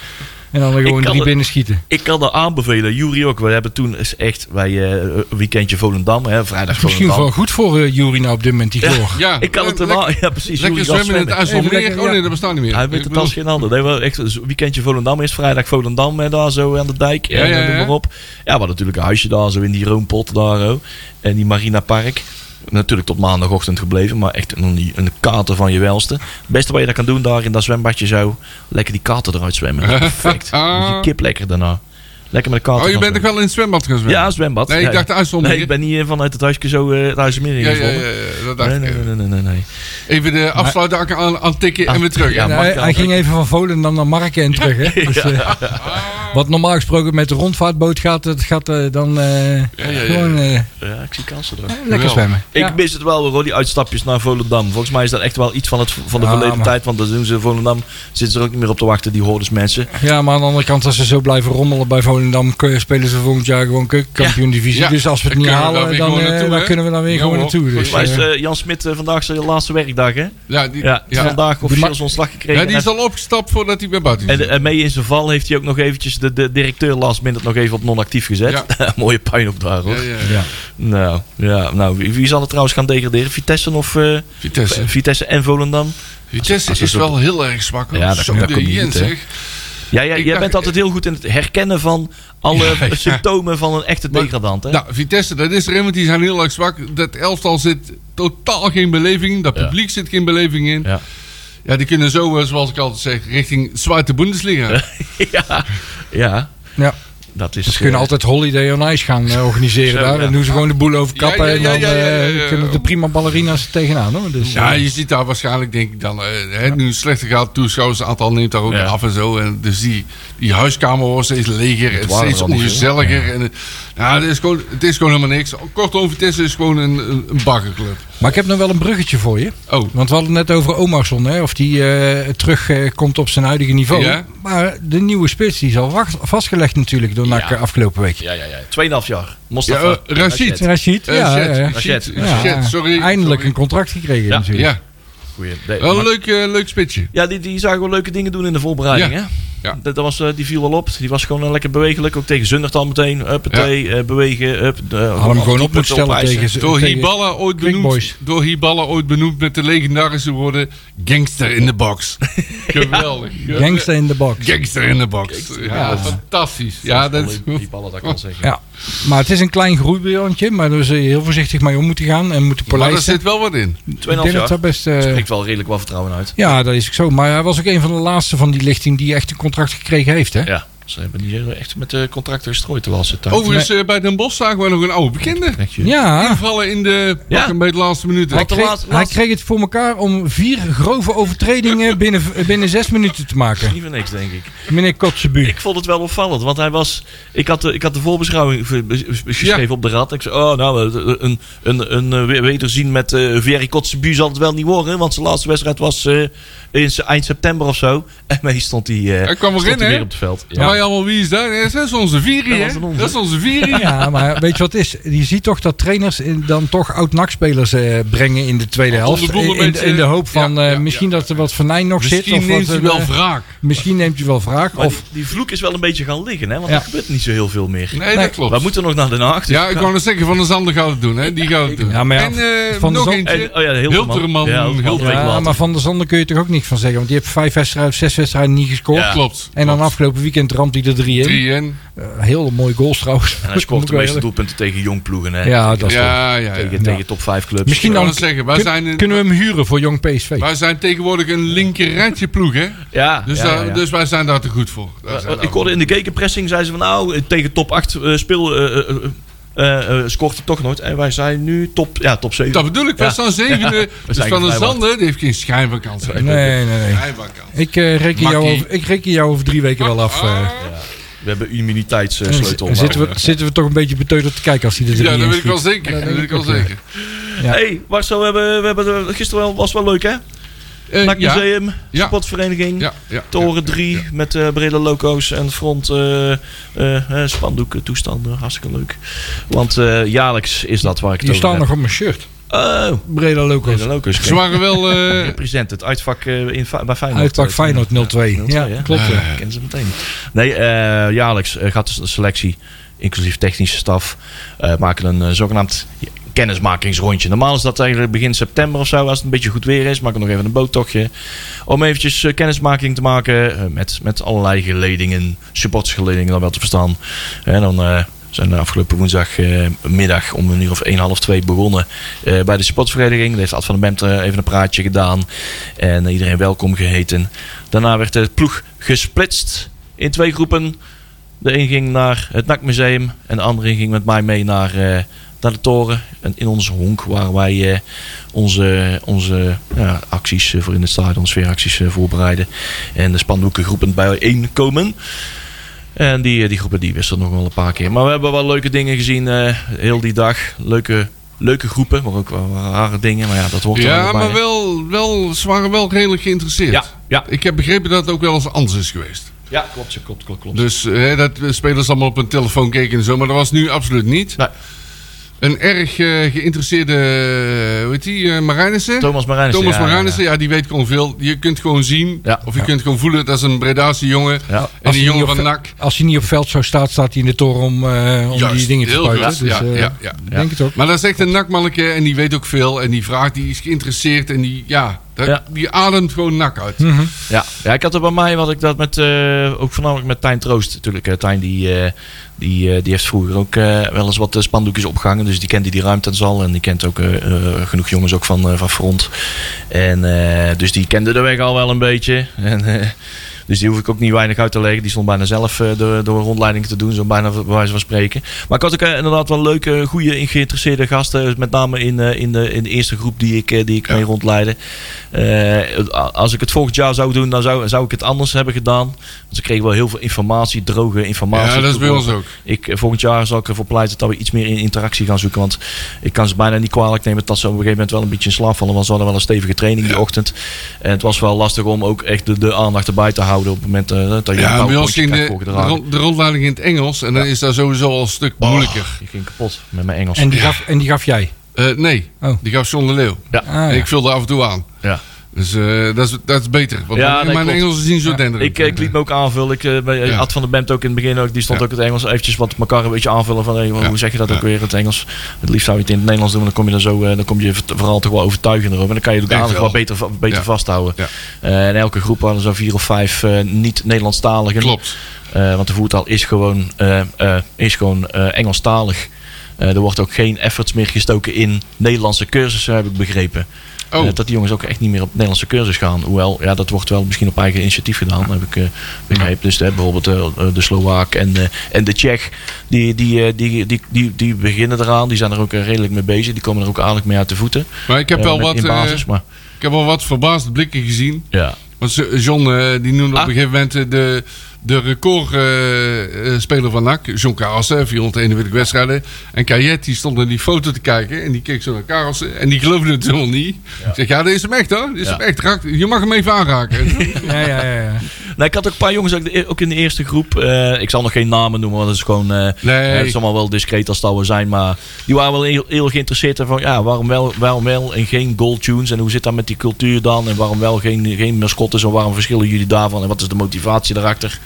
S4: En dan er
S2: kan
S4: gewoon drie
S2: het-
S4: binnen schieten.
S2: ik kan dat aanbevelen. Jury ook. We hebben toen eens echt bij eh, een weekendje Volendam. Hè, vrijdag
S4: Misschien
S2: Volendam.
S4: wel goed voor eh, Jury nou op dit moment, die chloor.
S3: Ja,
S2: Ik kan het
S3: lekker-
S2: helemaal... Ja, precies.
S3: Lekker
S2: Jury gaat
S3: zwemmen in het
S2: zwemmen.
S4: Even
S3: IJsselmeer.
S4: lekker,
S3: Oh nee,
S4: ja.
S3: dat bestaat niet meer.
S2: Hij weet
S3: Ik
S2: het als
S3: bedoel-
S2: geen ander. Nee, wel echt, een weekendje Volendam is vrijdag Volendam hè, daar zo aan de dijk.
S3: Ja,
S2: en
S3: ja,
S2: eh, noem
S3: ja.
S2: maar op. Ja, maar natuurlijk een huisje daar zo in die Roompot daar. Ho. En die Marina Park. Natuurlijk tot maandagochtend gebleven, maar echt een, een kater van je welste. Het beste wat je daar kan doen daar in dat zwembadje zo, lekker die kater eruit zwemmen. Dat is Perfect. Dus die kip lekker daarna. Lekker met de kater.
S3: Oh, je
S2: gaan
S3: bent
S2: zwemmen.
S3: toch wel in het zwembad gaan zwemmen?
S2: Ja, zwembad.
S3: Nee, ik
S2: Ja,
S3: dacht de IJsselmeer.
S2: Nee, ik ben niet eh, vanuit het huisje zo eh het IJsselmeer
S3: Ja, ja,
S2: ingezwommen.
S3: ja, ja, dat dacht
S2: nee,
S3: ik.
S2: nee, nee, nee, nee, nee.
S3: Even de afsluiter aan, aantikken en weer terug.
S2: ja,
S3: hè?
S4: En
S2: maar-
S4: hij,
S2: Mark
S4: hij
S2: Jan.
S4: ging even van Volendam naar Marken en terug. Hè? Dus, eh, wat normaal gesproken met de rondvaartboot gaat, dat gaat eh, dan eh,
S3: ja, ja.
S4: gewoon eh,
S2: Ja, ik zie kansen er.
S4: lekker
S3: Geweldig.
S4: zwemmen.
S2: Ik
S4: Ja.
S2: mis het wel, hoor, die uitstapjes naar Volendam. Volgens mij is dat echt wel iets van, het, van de
S4: Ja,
S2: verleden
S4: maar-
S2: tijd. Want dat doen ze in Volendam. Zitten ze er ook niet meer op te wachten, die hordes mensen.
S4: Ja, maar aan de andere kant, als ze zo blijven rommelen bij Volendam, k- spelen ze volgend jaar gewoon keukenkampioen divisie.
S3: Ja.
S4: Dus als we het
S3: Dan
S4: niet
S3: kunnen we daar
S4: halen,
S3: weer
S4: dan,
S3: gewoon
S4: eh,
S3: naartoe,
S4: dan
S3: hè?
S4: kunnen we daar weer
S3: Ja,
S4: gewoon
S3: hoor.
S4: naartoe. Dus,
S2: Maar is
S4: eh,
S2: eh, Jan Smit eh, vandaag zijn laatste werkdag, hè?
S3: Ja, die,
S2: Ja,
S3: ja,
S2: die is vandaag officieel zijn ontslag gekregen.
S3: Ja, die is al opgestapt voordat hij weer buiten
S2: en,
S3: is.
S2: en mee in zijn val heeft hij ook nog eventjes de, de directeur last minute nog even op non-actief gezet. Mooie pijn op daar, hoor.
S3: Ja, ja.
S4: ja.
S2: Nou, ja, nou, wie wie zal er trouwens gaan degraderen? Vitesse of eh,
S3: Vitesse.
S2: Vitesse en Volendam?
S3: Vitesse
S2: als- als
S3: is
S2: het-
S3: wel heel erg zwak. hoor.
S2: Ja, dat-
S3: Zo
S2: dat
S3: de
S2: komt niet
S3: Jens,
S2: goed, hè.
S3: zeg.
S2: Ja, ja,
S3: Ik
S2: jij
S3: dacht-
S2: bent altijd heel goed in het herkennen van alle
S3: Ja, ja.
S2: symptomen van een echte degradant, hè?
S3: Nou, Vitesse, dat is er een, want die zijn heel erg zwak. Dat elftal zit totaal geen beleving in. Dat
S2: Ja.
S3: publiek zit geen beleving in.
S2: Ja.
S3: Ja. die kunnen zo, eh, zoals ik altijd zeg, richting Zwarte Bundesliga.
S2: ja, ja,
S4: ja.
S2: dat is. eh,
S4: Ze kunnen altijd Holiday on Ice gaan eh, organiseren
S2: Zo,
S4: daar.
S2: ja.
S4: En doen ze gewoon de boel overkappen.
S3: Ja, ja, ja,
S4: en dan
S3: ja, ja, ja,
S4: eh,
S3: ja.
S4: kunnen de prima ballerina's er tegenaan. Hoor. Dus,
S3: Ja,
S4: eh,
S3: je ziet daar waarschijnlijk, denk ik dan, eh, hè, nu het slechter gaat, toeschouwersaantal neemt daar ook
S2: Ja.
S3: af en zo. En dus die, die huiskamer wordt steeds leger en
S2: waren
S3: steeds
S2: er al niet
S3: ongezelliger. En, het- nou, het, is gewoon, het is gewoon helemaal niks. Kortom, Vitesse is gewoon een, een, een baggerclub.
S4: Maar ik heb nog wel een bruggetje voor je.
S3: Oh,
S4: Want we hadden het net over Omarsson, hè, of die eh, terugkomt op zijn huidige niveau.
S3: Ja.
S4: Maar de nieuwe spits die is al wacht- vastgelegd natuurlijk door NAC
S2: Ja.
S4: afgelopen week.
S2: Ja, ja, ja. 2,5 jaar.
S3: ja,
S2: Mostafa.
S3: eh, Rashid.
S2: Rashid.
S4: Rashid,
S3: Eh,
S4: ja,
S3: shit,
S4: ja, ja.
S3: shit,
S2: Shit.
S4: Ja,
S3: shit, sorry.
S4: Eindelijk
S3: sorry.
S4: een contract gekregen
S2: Ja.
S4: natuurlijk.
S3: Ja,
S2: Goeie. Nee,
S3: wel
S2: maar-
S3: een leuk, eh, leuk spitsje.
S2: Ja, die, die zagen wel leuke dingen doen in de voorbereiding.
S3: Ja.
S2: Hè?
S3: Ja.
S2: Dat, dat was, eh, die viel wel op. Die was gewoon eh, lekker bewegelijk. Ook tegen Zundert al meteen. Huppatee, eh, bewegen. Up,
S4: Had hem gewoon op moeten stellen tegen ze.
S3: Door
S4: tegen-
S3: Hiballa, ooit
S4: Quick
S3: benoemd,
S4: Boys.
S3: door Hiballa ooit benoemd met de legendarische woorden Gangster in the Box. Geweldig.
S4: Gangster in the box.
S3: Gangster in the Box. ja,
S4: box.
S3: fantastisch. Ja, dat is
S2: Die ballen, dat kan ik wel zeggen.
S4: Ja, maar het is een klein groeibriljantje, maar daar zul je heel voorzichtig mee om moeten gaan en moeten
S3: Maar er
S4: polijsten.
S3: zit wel wat in.
S2: 2,5
S4: Ik denk dat
S2: jaar.
S4: dat best... eh,
S2: Spreekt wel redelijk wat vertrouwen uit.
S4: ja, dat is ook zo. Maar hij was ook een van de laatste van die lichting die echt een contract gekregen heeft, hè?
S2: Ja. Ze hebben die echt met de contracten gestrooid terwijl ze thuis.
S3: Overigens, eh, bij Den Bosch zagen we nog een oude bekende.
S4: Ja,
S3: Vallen in de
S2: Ja.
S3: pakken bij de laatste minuten.
S4: hij
S2: de
S4: kreeg,
S2: laatste-
S4: hij
S2: laatste-
S4: kreeg het voor elkaar om vier grove overtredingen binnen, binnen zes minuten te maken.
S2: Niet voor niks, denk ik.
S4: Meneer Kotzebu.
S2: Ik vond het wel opvallend, want hij was. Ik had de, ik had de voorbeschouwing ge- be- be- geschreven op de rad. Ik zei: Oh, nou, eh, een, een, een eh, we- wederzien met eh Vieri Kotzebu zal het wel niet worden. Want zijn laatste wedstrijd was eh, in se- eind september of zo. En mee stond hij. eh,
S3: Hij kwam
S2: stond
S3: erin,
S2: hij
S3: hè?
S2: weer op het veld.
S4: Ja,
S2: Ja,
S3: wij allemaal wie is daar? Nee, Dat is onze Viri,
S2: Dat
S3: hè?
S2: was een onze.
S3: Dat is onze Viri.
S4: Ja, maar weet je wat het is? Je ziet toch dat trainers in- dan toch oud-NAC-spelers eh, brengen in de tweede
S3: Om de
S4: helft.
S3: boel
S4: In,
S3: een
S4: in,
S3: beetje-
S4: in de hoop van
S3: Ja,
S4: eh,
S3: ja,
S4: misschien
S3: ja.
S4: dat er wat venijn nog zit.
S3: Misschien
S4: Of
S3: neemt
S4: wat,
S3: hij
S4: een,
S3: wel
S4: eh,
S3: wraak.
S4: Misschien neemt hij wel vraag.
S2: Maar
S4: Of,
S2: die, die vloek is wel een beetje gaan liggen, hè? Want
S4: Oh, Ja.
S2: er gebeurt niet zo heel veel meer.
S3: Nee,
S4: Nee.
S3: dat klopt.
S2: We moeten nog naar Den Haag. dus
S3: ja, ik
S2: ga-
S3: wou net zeggen, Van de Zander gaat het doen, hè? Die gaat het doen.
S4: Ja, maar ja,
S3: en eh,
S4: Van der
S3: nog
S4: Zand-
S3: eentje.
S2: En- oh ja,
S3: Hilterman.
S2: Hilterman. Ja, Hilterman.
S3: Hilterman.
S2: Week
S4: ja,
S2: later.
S4: maar Van der Zanden kun je toch ook niks van zeggen. Want die heeft vijf wedstrijden of zes wedstrijden niet gescoord.
S2: Ja.
S3: Klopt.
S4: En dan
S3: klopt.
S4: afgelopen weekend ramt hij er drie in.
S3: Drie en...
S4: Eh, Heel mooie goals trouwens.
S2: En hij scoort de meeste doelpunten tegen jongploegen, hè?
S4: Ja, dat is toch.
S3: Ja, ja, ja.
S2: Tegen,
S4: Ja.
S2: tegen top 5 clubs.
S4: Misschien
S3: Ik wou
S4: dan
S3: net zeggen, wij
S4: kun-
S3: zijn een-
S4: kunnen we hem huren voor Jong PSV.
S3: Wij zijn tegenwoordig een linker rijtje ploeg, hè?
S2: Ja,
S3: Dus,
S2: ja,
S3: daar-
S2: ja, ja.
S3: dus wij zijn daar te goed voor. Daar
S2: Eh,
S3: zijn we
S2: ik hoorde in de gegenpressing, zeiden ze van nou, eh, tegen top 8 eh, speel eh, eh, eh, eh, scoort hij toch nooit. En wij zijn nu top, ja, top 7.
S3: Dat bedoel ik, we
S2: Ja.
S3: staan zevende. dus
S2: zijn
S3: Van der
S2: gevrijwaard.
S3: Zander die heeft geen schijnvakantie.
S4: Nee, nee, nee.
S3: Schijnvakantie.
S4: Ik, eh, reken jou
S3: Makkie. Ah,
S4: over, ik reken jou over drie weken wel af. eh.
S2: We hebben immuniteitssleutel.
S4: Dan zitten, we, zitten we toch een beetje beteuterd te kijken als hij er drie
S3: Ja,
S4: in
S3: dat weet ik wel
S4: schiet.
S3: zeker.
S4: Ja,
S3: Dat
S4: dat
S3: weet
S4: denk
S3: ik wel
S4: ik ook, ja.
S3: zeker.
S4: Ja.
S2: hey, Marcel, we hebben, we hebben er- gisteren wel, was wel leuk, hè?
S3: Eh,
S2: NAC
S3: ja,
S2: Museum,
S3: Ja.
S2: sportvereniging,
S3: ja, ja, ja,
S2: Toren
S3: ja,
S2: 3
S3: ja.
S2: met eh brede loco's en front eh, eh, eh, spandoeken, toestanden. Hartstikke leuk. Want eh, jaarlijks is dat waar ik het
S4: Die
S2: over
S4: staan
S2: heb.
S4: nog op mijn shirt.
S2: Oh,
S4: Breda Locos.
S2: brede loco's.
S3: Ze waren wel... eh,
S2: Represent, het uitvak eh, in, Fa- bij Feyenoord.
S4: Uitpak Feyenoord 02. Ja,
S2: 02, hè?
S4: klopt. ja.
S2: Kennen ze meteen. Nee, eh, jaarlijks eh, gaat de selectie, inclusief technische staf, eh, maken een eh, zogenaamd kennismakingsrondje. Normaal is dat eigenlijk begin september of zo, als het een beetje goed weer is. Maken we nog even een boottochtje. Om eventjes eh, kennismaking te maken eh, met, met allerlei geledingen, supportersgeledingen dan wel te verstaan. En dan... eh, zijn de afgelopen woensdagmiddag om een uur of 1, half 2 begonnen eh, bij de sportvereniging. Daar heeft Ad van de Bemt eh, even een praatje gedaan en eh, iedereen welkom geheten. Daarna werd de ploeg gesplitst in twee groepen. De een ging naar het NAC Museum en de andere ging met mij mee naar, eh, naar de toren. En in onze honk waar wij eh, onze, onze ja, acties eh, voor in het stadion, sfeeracties eh, voorbereiden. En de spandoeken groepen bijeenkomen. En die, eh, die groepen die wisselden nog wel een paar keer. Maar we hebben wel leuke dingen gezien eh, heel die dag. Leuke, leuke groepen, maar ook wel rare dingen. Maar ja, dat hoort er
S3: Ja,
S2: wel bij.
S3: maar wel, wel, ze waren wel redelijk geïnteresseerd.
S2: Ja, ja.
S3: Ik heb begrepen dat het ook wel eens anders is geweest.
S2: ja, klopt, klopt, klopt. klopt.
S3: Dus hè, dat de spelers allemaal op hun telefoon keken en zo, maar dat was nu absoluut niet.
S2: Nee.
S3: Een erg eh, geïnteresseerde, eh, hoe heet die, eh, Marijnissen?
S2: Thomas Marijnissen.
S3: Thomas
S2: ja,
S3: Marijnissen, ja, die weet gewoon veel. Je kunt gewoon zien,
S2: Ja.
S3: of je kunt gewoon voelen, dat is een Bredaanse jongen.
S2: Ja. Ja.
S3: En
S4: Als
S3: die
S4: hij
S3: jongen
S4: niet op-
S3: van NAC.
S4: Als hij niet op veld zou staan, staat hij in de toren om, eh, om
S3: Juist,
S4: die dingen te
S3: heel
S4: spuiten.
S3: goed.
S4: Dus,
S3: Ja,
S4: eh,
S3: ja, ja.
S4: ik denk het ook.
S3: Maar dat is echt een nakmanneke en die weet ook veel. En die vraagt, die is geïnteresseerd en die, ja, dat-
S2: Ja. Hm.
S3: die ademt gewoon nak uit.
S2: Ja, ja, ik had er bij mij, wat ik dat met, eh, ook voornamelijk met Tijn Troost natuurlijk. eh, Tijn die, eh, die, eh, die heeft vroeger ook eh, wel eens wat eh, spandoekjes opgehangen. Dus die kent die, die ruimte en zal. En die kent ook eh, eh, genoeg jongens ook van, eh, van Front. En eh, dus die kende de weg al wel een beetje. En, eh, dus die hoef ik ook niet weinig uit te leggen. Die stond bijna zelf eh, de, de rondleiding te doen, zo bijna bij wijze van spreken. Maar ik had ook eh, inderdaad wel leuke, goede, geïnteresseerde gasten. Met name in, eh, in, de, in de eerste groep die ik, eh, die ik mee rondleidde. Eh, als ik het volgend jaar zou doen, dan zou, zou ik het anders hebben gedaan. Want ze kregen wel heel veel informatie, droge informatie.
S3: Ja, dat is bij ons ook.
S2: Ik, eh, volgend jaar zal ik ervoor pleiten dat we iets meer in interactie gaan zoeken. Want ik kan ze bijna niet kwalijk nemen dat ze op een gegeven moment wel een beetje in slaap vallen. Want ze hadden wel een stevige training die ochtend. En het was wel lastig om ook echt de, de aandacht erbij te houden op het moment eh, dat je een
S3: Ja, bij ons
S2: PowerPointje
S3: ging
S2: krijgt
S3: de, de,
S2: voorgedragen.
S3: rond- de rondleiding in het Engels. En dan is dat sowieso al een stuk moeilijker.
S2: Oh, Ik ging kapot met mijn Engels.
S4: En die, gaf, en die gaf jij.
S3: Eh, nee,
S4: Oh.
S3: die gaf John de Leeuw.
S2: ja.
S4: Ah,
S3: En
S4: ja.
S3: ik vulde af en toe aan.
S2: ja.
S3: Dus eh, dat, is, dat is beter. Want
S2: Ja,
S3: mijn-
S2: nee,
S3: mijn
S2: klopt.
S3: Engels is niet zo denderend.
S2: Ik, eh, ik liet me ook aanvullen. Ik, eh, bij
S3: Ja.
S2: Ad van der Bemt ook in het begin ook. Die stond
S3: Ja.
S2: ook in het Engels eventjes wat elkaar een beetje aanvullen. Van, hey, hoe
S3: Ja.
S2: zeg je dat
S3: Ja.
S2: ook weer in het Engels? Het liefst zou je het in het Nederlands doen. want Dan kom je, er zo, eh, dan kom je vert- vooral toch wel overtuigender over. En dan kan je de
S3: Denk
S2: aandacht
S3: wel.
S2: wat beter, va- beter
S3: Ja.
S2: vasthouden.
S3: Ja.
S2: Eh, in elke groep hadden zo'n vier of vijf eh, niet-Nederlandstaligen.
S3: Klopt.
S2: Eh, want de voertaal is gewoon, eh, eh, is gewoon eh, Engelstalig. Eh, er wordt ook geen efforts meer gestoken in Nederlandse cursussen, heb ik begrepen.
S3: Oh.
S2: Eh, dat die jongens ook echt niet meer op Nederlandse cursus gaan. Hoewel, ja, dat wordt wel misschien op eigen initiatief gedaan, heb ik eh, begrepen. Dus eh, bijvoorbeeld eh, eh, de Slovaak en, eh, en de Tsjech, die, die, eh, die, die, die, die beginnen eraan. Die zijn er ook eh, redelijk mee bezig. Die komen er ook aardig mee uit de voeten.
S3: Maar ik heb,
S2: Eh,
S3: wel
S2: met-
S3: wat,
S2: In basis,
S3: eh,
S2: maar
S3: ik heb wel wat verbaasde blikken gezien.
S2: ja.
S3: Want ze- John eh, die noemde op
S2: Ah.
S3: een gegeven moment eh, de, de recordspeler van NAC. John Karelsen, 441 wedstrijden. En Kajet die stond naar die foto te kijken. En die keek zo naar Karelsen. En die geloofde het helemaal niet. Ik zeg, ja, dit is hem echt hoor. Dit is
S2: Ja.
S3: hem echt. Raak- je mag hem even aanraken.
S4: Ja, ja, ja, ja.
S2: Nou, ik had ook een paar jongens ook de- ook in de eerste groep. eh, ik zal nog geen namen noemen, want dat is gewoon. eh,
S3: Nee.
S2: eh, het is allemaal wel discreet als het al we zijn. Maar die waren wel heel, heel geïnteresseerd. in Van, ja, waarom wel, waarom wel en geen gold tunes? En hoe zit dat met die cultuur dan? En waarom wel geen, geen mascottes? En waarom verschillen jullie daarvan? En wat is de motivatie daarachter?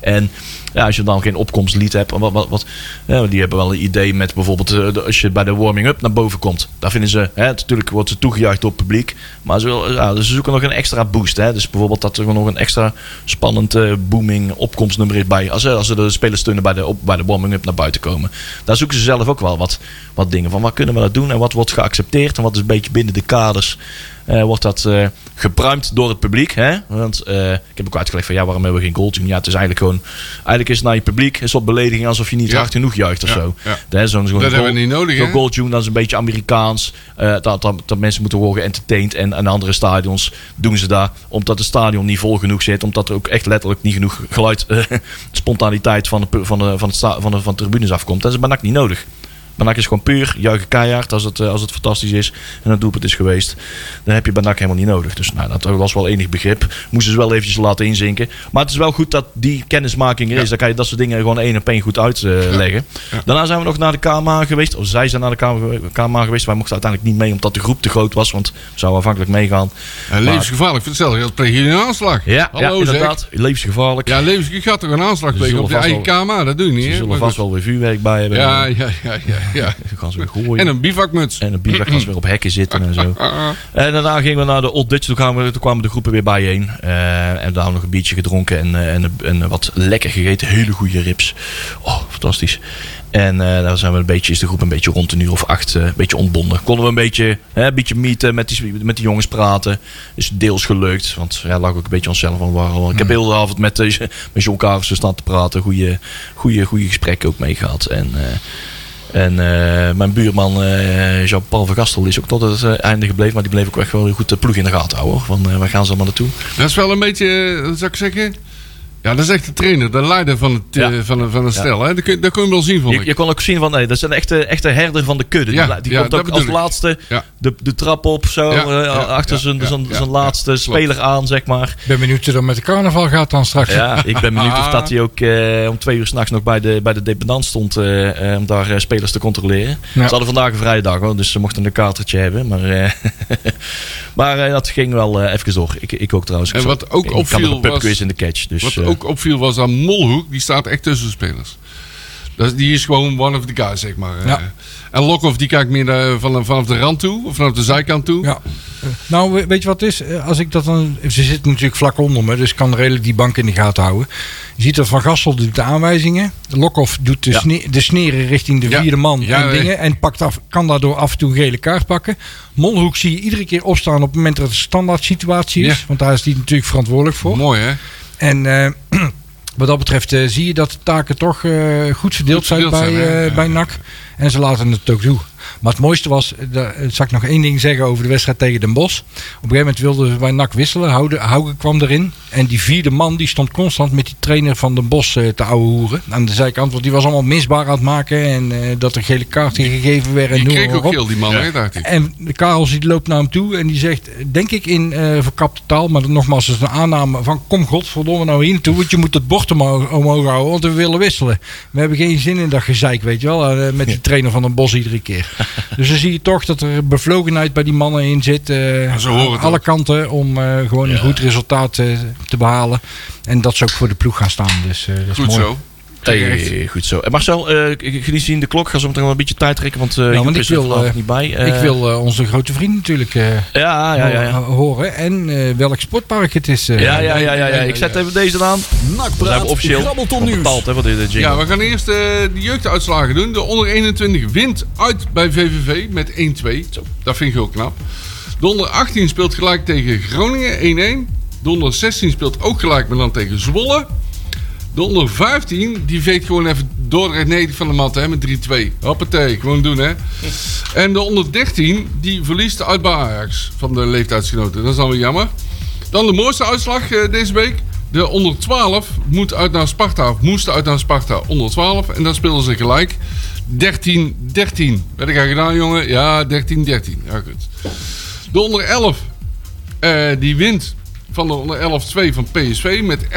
S2: En ja, als je dan geen opkomstlied hebt, en wat, wat, wat, ja, die hebben wel een idee met bijvoorbeeld eh, de- als je bij de warming-up naar boven komt. Daar vinden ze, hè, natuurlijk wordt ze toegejuicht door het publiek, maar ze, wil- ja, dus ze zoeken nog een extra boost. Hè. Dus bijvoorbeeld dat er nog een extra spannend eh, booming opkomstnummer is bij, als, ze- als ze de spelers steunen bij de, op, bij de warming-up naar buiten komen. Daar zoeken ze zelf ook wel wat, wat dingen van. Wat kunnen we dat doen en wat wordt geaccepteerd en wat is een beetje binnen de kaders eh, wordt dat eh, gepruimd door het publiek. Hè? Want eh, ik heb ook uitgelegd van ja, waarom hebben we geen goal tune? Ja, het is eigenlijk gewoon, eigenlijk is het naar je publiek een soort belediging alsof je niet
S3: Ja.
S2: hard genoeg juicht of
S3: Ja,
S2: zo.
S3: ja.
S2: Hè, zo'n- zo'n
S3: Dat
S2: goal-
S3: hebben we niet nodig,
S2: Zo'n
S3: hè?
S2: goal tune, dat is een beetje Amerikaans. eh, dat, dat, dat mensen moeten worden entertained en aan andere stadions doen ze daar. Omdat het stadion niet vol genoeg zit, omdat er ook echt letterlijk niet genoeg geluid, eh, spontaniteit van de, pu- van, de, van, het sta- van, de, van de tribunes afkomt. Dat is bij NAC niet nodig. Bij NAC is gewoon puur, juichen keihard als het, eh, als het fantastisch is en het doelpunt is geweest. Dan heb je bij NAC helemaal niet nodig. Dus nou, dat was wel enig begrip. Moesten ze wel eventjes laten inzinken. Maar het is wel goed dat die kennismaking er is. Dan kan je dat soort dingen gewoon één op één goed uitleggen. Daarna zijn we nog naar de KMA geweest. Of zij zijn naar de KMA, KMA geweest. Wij mochten uiteindelijk niet mee omdat de groep te groot was. Want we zouden afhankelijk meegaan.
S3: En levensgevaarlijk, vertel je, dat pleeg je een aanslag.
S2: Ja, ja
S3: Hallo,
S2: inderdaad. Levensgevaarlijk.
S3: Zeg. Ja, levensgevaarlijk gaat toch een aanslag plegen
S2: zullen
S3: op je
S2: vast
S3: eigen KMA, dat doe je niet,
S2: Ze
S3: hè?
S2: zullen
S3: Maar
S2: vast
S3: goed.
S2: wel weer vuurwerk bij hebben.
S3: Ja, ja, ja, ja, ja.
S2: Ze gaan ze weer gooien.
S3: En een bivakmuts.
S2: En een bivak was weer op hekken zitten en zo.
S3: Ah, ah.
S2: En daarna gingen we naar de Old Dutch. Toen, kwamen we- toen kwamen de groepen weer bijeen. Eh, en daar nog een biertje gedronken en, eh, en, en wat lekker gegeten. Hele goede rips. Oh, fantastisch. En eh, daar zijn we een beetje, is de groep een beetje rond een uur of acht eh, een beetje ontbonden. Konden we een beetje, hè, een beetje meeten, met die, met die jongens praten. Is deels gelukt, want ja, lag ook een beetje onszelf aan warrel. Ik heb heel de avond met, eh, met John Carlsen staan te praten. Goede, goede, goede gesprekken ook mee gehad. En... eh, en eh, mijn buurman eh, Jean-Paul van Gastel is ook tot het eh, einde gebleven. Maar die bleef ook echt wel goed de ploeg in de gaten houden. Hoor. Van eh, waar gaan ze allemaal naartoe?
S3: Dat is wel een beetje, eh, wat zou ik zeggen? Ja, dat is echt de trainer, de leider van het, eh,
S2: Ja.
S3: van, een- van het stel. Hè? Dat, kun, dat kun je wel zien, vond
S2: Je,
S3: ik.
S2: je kon ook zien van nee, dat is een echte, echte herder van de kudde.
S3: Ja,
S2: die la- die
S3: ja,
S2: komt
S3: dat
S2: ook als
S3: bedoel ik.
S2: laatste
S3: Ja.
S2: de, de trap op. Zo,
S3: Ja,
S2: eh,
S3: ja,
S2: achter
S3: ja,
S2: zijn,
S3: ja,
S2: zijn,
S3: ja,
S2: zijn
S3: ja,
S2: laatste
S3: klopt.
S2: speler aan, zeg maar.
S4: Ik ben benieuwd hoe dat met de carnaval gaat dan straks.
S2: Ja, ik ben benieuwd of dat hij ook eh, om twee uur s'nachts nog bij de, bij de dependant stond. eh, eh, om daar eh, spelers te controleren. Ze hadden vandaag een vrije dag hoor, dus ze mochten een katertje hebben. Maar, eh, maar eh, dat ging wel eh, even door. Ik, ik ook trouwens. Ik
S3: En
S2: zat-
S3: wat ook
S2: ik
S3: opviel
S2: had nog een pubquiz
S3: was-
S2: in de catch. Dus,
S3: Wat
S2: eh,
S3: ook opviel was aan Molhoek, die staat echt tussen de spelers. Dat, is- die is gewoon one of the guys, zeg maar. eh.
S4: Ja.
S3: En Lokhoff, die kijkt meer naar- van, vanaf de rand toe, of vanaf de zijkant toe.
S4: Ja. Nou, we- weet je wat het is? Eh, Als ik dat dan, ze zitten natuurlijk vlak onder me, dus ik kan redelijk die bank in de gaten houden. Je ziet dat Van Gassel doet de aanwijzingen. Lokhoff doet de,
S2: Ja.
S4: sne- de sneren richting de
S3: Ja.
S4: vierde man
S3: Ja,
S4: en
S3: nee.
S4: dingen. En pakt af, kan daardoor af en toe een gele kaart pakken. Molhoek zie je iedere keer opstaan op het moment dat het een standaard situatie is.
S3: Ja.
S4: Want daar is hij natuurlijk verantwoordelijk voor.
S3: Mooi, hè?
S4: En eh, wat dat betreft eh, zie je dat de taken toch eh, goed verdeeld
S3: Goed
S4: zijn
S3: verdeeld
S4: bij,
S3: zijn, hè?
S4: eh,
S3: Ja,
S4: bij
S3: ja,
S4: NAC. En ze laten het ook doen. Maar het mooiste was, eh, daar eh, zal ik nog één ding zeggen over de wedstrijd tegen Den Bosch. Op een gegeven moment wilden ze bij NAC wisselen. Houde- Hauge kwam erin. En die vierde man die stond constant met die trainer van Den Bosch eh, te ouwe hoeren. Aan de zijkant, want die was allemaal misbaar aan het maken. En eh, dat er gele kaarten gegeven werden.
S3: Die
S4: en noem
S3: kreeg
S4: maar
S3: ook
S4: op.
S3: heel die man, hè, dacht ik.
S4: En de Karels die loopt naar hem toe en die zegt, denk ik in eh verkapte taal, maar nogmaals, het is een aanname van kom godverdomme nou hier naartoe, want je moet het bord omhoog, omhoog houden, want we willen wisselen. We hebben geen zin in dat gezeik, weet je wel, eh, met die trainer van een bos iedere keer. dus dan zie je toch dat er bevlogenheid bij die mannen in zit, eh,
S3: Ja, zo hoort
S4: aan
S3: het
S4: alle
S3: ook.
S4: kanten, om eh, gewoon een goed resultaat eh, te behalen. En dat ze ook voor de ploeg gaan staan, dus eh, dat is
S3: Goed
S4: mooi.
S3: zo.
S2: hey, goed zo. En Marcel, eh, ik- ik- jullie zien de klok. Ga zo meteen wel een beetje tijd trekken, want eh
S4: want
S2: Joep
S4: ik
S2: is er
S4: wil,
S2: vanavond
S4: eh,
S2: niet bij. Eh,
S4: Ik wil eh, onze grote vriend natuurlijk eh,
S2: Ja, ja, ja. ja.
S4: ho- horen en eh, welk sportpark het is. eh,
S2: Ja, ja, ja, ja, ja. Ik zet even deze aan. We zijn
S1: Nakpraat,
S2: we officieel
S1: grabbelton
S2: want
S1: nieuws.
S2: betaald, hè, wat is de jingle.
S3: Ja, we gaan eerst eh, de jeugduitslagen doen. De onder 21 wint uit bij VVV met 1-2. Dat vind ik heel knap. De onder 18 speelt gelijk tegen Groningen 1-1. De onder 16 speelt ook gelijk, maar dan tegen Zwolle. De onder 15, die veegt gewoon even Dordrecht neder van de mat hè, met 3-2. Hoppatee, gewoon doen hè. En de onder 13, die verliest uit bij Ajax van de leeftijdsgenoten. Dat is dan weer jammer. Dan de mooiste uitslag eh, deze week. De onder 12 moet uit naar Sparta, of moest uit naar Sparta onder 12. En daar speelden ze gelijk. 13-13. Werd ik aan gedaan, jongen? Ja, 13-13. Ja, goed. De onder 11, eh, die wint van de onder 11-2 van PSV met 11-8.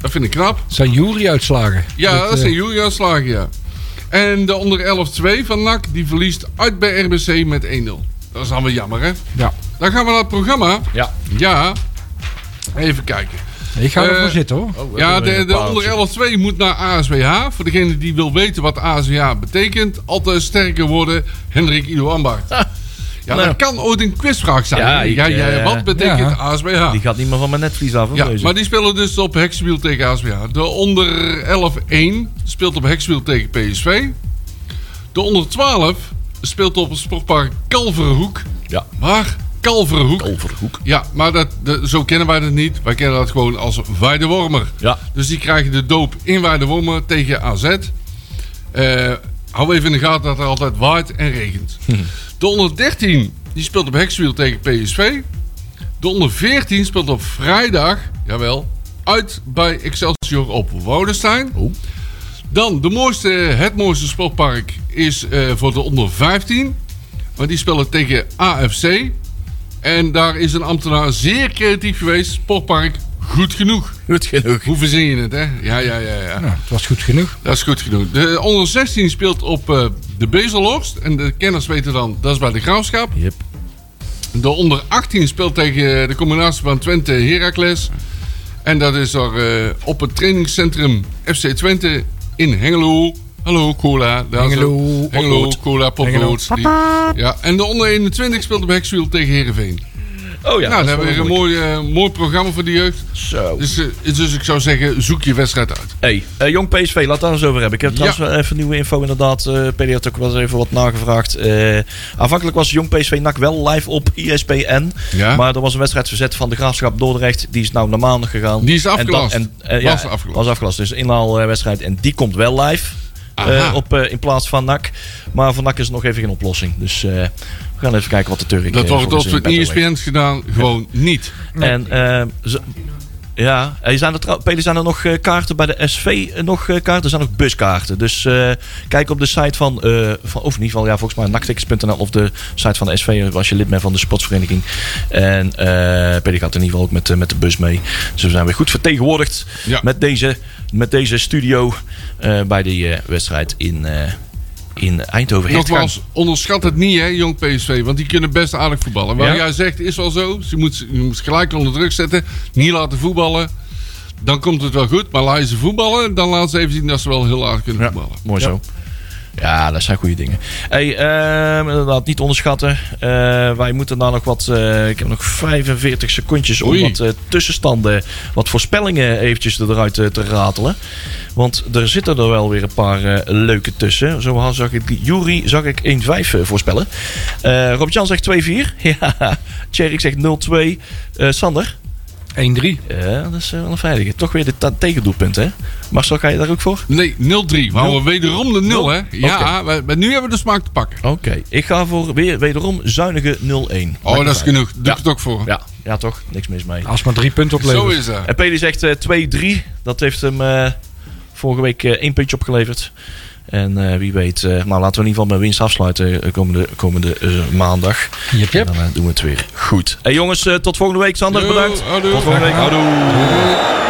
S3: Dat vind ik knap.
S4: Zijn jury-uitslagen.
S3: Ja, dat,
S4: eh,
S3: zijn jullie uitslagen, ja. En de onder 11-2 van NAC, die verliest uit bij RBC met 1-0. Dat is dan wel jammer, hè?
S4: Ja,
S3: Dan gaan we naar het programma.
S2: Ja.
S3: Ja. Even kijken.
S4: ik ga
S3: Eh,
S4: ervoor zitten hoor.
S2: Oh, we
S3: Ja,
S2: hebben
S3: de,
S2: een
S3: de
S2: paaltje.
S3: onder 11-2 moet naar ASWH. Voor degene die wil weten wat ASWH betekent, altijd sterker worden, Hendrik Ido Ambacht. Ja,
S2: Nou.
S3: dat kan ooit een quizvraag zijn.
S2: Ja,
S3: Ja,
S2: ik,
S3: ja, ja,
S2: eh,
S3: wat betekent
S4: ja.
S3: ASWH?
S2: Die gaat niet meer van mijn netvlies af. hoor,
S3: Ja,
S2: deze.
S3: maar die spelen dus op Hexwiel tegen ASWH. De onder 11-1 speelt op Hexwiel tegen PSV. De onder 12 speelt op het sportpark Kalverhoek.
S2: Ja.
S3: Maar Kalverhoek.
S2: Overhoek.
S3: Ja, maar dat, de- zo kennen wij dat niet. Wij kennen dat gewoon als Weidewormer.
S2: Ja.
S3: Dus die krijgen de doop in Weidewormer tegen AZ. Eh, hou even in de gaten dat er altijd waait en regent. De onder 13 die speelt op Hexwiel tegen PSV. De onder 14 speelt op vrijdag, jawel, uit bij Excelsior op Woudenstein. Dan de mooiste, het mooiste sportpark is eh, voor de onder 15. Want die spelen tegen AFC. En daar is een ambtenaar zeer creatief geweest. Sportpark, goed genoeg.
S2: Goed genoeg.
S3: Hoe verzin je het, hè? Ja, ja, ja, ja.
S4: Nou, het was goed genoeg.
S3: Dat is goed genoeg. De onder 16 speelt op eh, de Bezelhorst. En de kenners weten dan, dat is bij de Graafschap.
S2: Yep.
S3: De onder 18 speelt tegen eh, de combinatie van Twente Heracles. En dat is er eh, op het trainingscentrum FC Twente in Hengelo. Hallo Cola. Daar is
S4: Hengelo,
S3: ook- Hengelo
S4: potlood.
S3: Cola, potlood. Die- Ja, en de onder 21 speelt op Hexwiel tegen Herenveen.
S2: Oh ja. dat
S3: nou, dan
S2: is
S3: hebben we
S2: wel
S3: weer een
S2: mooi.
S3: mooi, eh, mooi programma voor de jeugd.
S2: Zo.
S3: Dus, eh, dus ik zou zeggen, zoek je wedstrijd uit.
S2: Hey, eh, Jong PSV, laat daar eens over hebben. Ik heb trouwens wel even nieuwe info inderdaad. eh PD had ook wel eens even wat nagevraagd. Eh, aanvankelijk was Jong PSV NAC wel live op ESPN.
S3: Ja.
S2: Maar er was een wedstrijd verzet van de Graafschap Dordrecht. Die is nou naar maandag gegaan.
S3: Die is
S2: En dan-
S3: afgelast.
S2: En eh,
S3: Was
S2: ja,
S3: afgelast.
S2: Was afgelast. Dus een inhaalwedstrijd. En die komt wel live. eh,
S3: Aha.
S2: op, eh, in plaats van NAC. Maar voor NAC is er nog even geen oplossing. Dus eh, we gaan even kijken wat de Turk...
S3: Dat
S2: eh,
S3: wordt E
S2: voor ons
S3: tot
S2: in
S3: het
S2: petto heeft.
S3: ESPN gedaan, gewoon niet.
S2: En ehm, ze- ja, eh, zijn er, trouw- Pele, zijn er nog eh, kaarten bij de SV? eh, Nog eh, kaarten? Er zijn nog buskaarten. Dus eh, kijk op de site van, eh, van of in ieder geval, ja, volgens mij naktickets.nl of de site van de SV als je lid bent van de sportvereniging. En eh Pele gaat in ieder geval ook met, eh, met de bus mee. Dus we zijn weer goed vertegenwoordigd
S3: Ja.
S2: met, deze, met deze studio eh, bij die eh, wedstrijd in, eh, in Eindhoven.
S3: Nogmaals, onderschat het niet, hè, jong PSV. Want die kunnen best aardig voetballen. Wat
S2: Ja.
S3: jij zegt is wel zo. Ze moet, je moet ze gelijk onder druk zetten. Niet laten voetballen. Dan komt het wel goed. Maar laat je ze voetballen, dan laat ze even zien dat ze wel heel aardig kunnen voetballen.
S2: Mooi zo. Ja, dat zijn goede dingen. Hey, ehm, inderdaad, niet onderschatten. Eh, wij moeten daar nog wat... eh, ik heb nog 45 secondjes om
S3: Oei.
S2: wat eh, tussenstanden... wat voorspellingen eventjes eruit eh, te ratelen. Want er zitten er wel weer een paar eh, leuke tussen. Zo had- zag ik Jury zag ik 1-5 eh, voorspellen. Eh Rob-Jan zegt 2-4. ja. Tjerk zegt 0-2. Eh, Sander?
S4: 1-3.
S2: Ja, dat is eh, wel een veilige. Toch weer dit ta- tegendoelpunt, hè? Marcel, ga je daar ook voor?
S3: Nee, 0-3. We houden wederom de 0, hè? Ja, we- we- nu hebben we de smaak te pakken. Oh,
S2: Oké, ik ga voor weer wederom zuinige 0-1. Lijkt
S3: Oh,
S2: me
S3: dat is Ah.
S2: fijn.
S3: genoeg. Doe
S2: Ja.
S3: ik het ook voor.
S2: Ja, ja toch? Niks mis mee.
S4: Als maar drie punten oplevert.
S3: Zo is dat.
S2: En Peli zegt eh 2-3. Dat heeft hem eh, vorige week eh, één puntje opgeleverd. En eh, wie weet, eh, nou laten we in ieder geval met winst afsluiten eh, komende, komende eh, maandag.
S4: Jep, jep.
S2: En dan eh, doen we het weer goed. Hey jongens, eh, tot volgende week. Sander,
S3: Yo,
S2: bedankt.
S3: houdoe.
S2: Tot volgende week. Houdoe.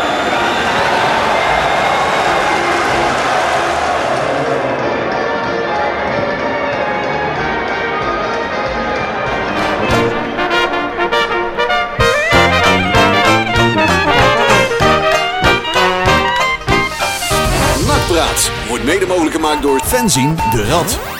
S1: Nakpraat wordt mede mogelijk gemaakt door Fenzin de Rad.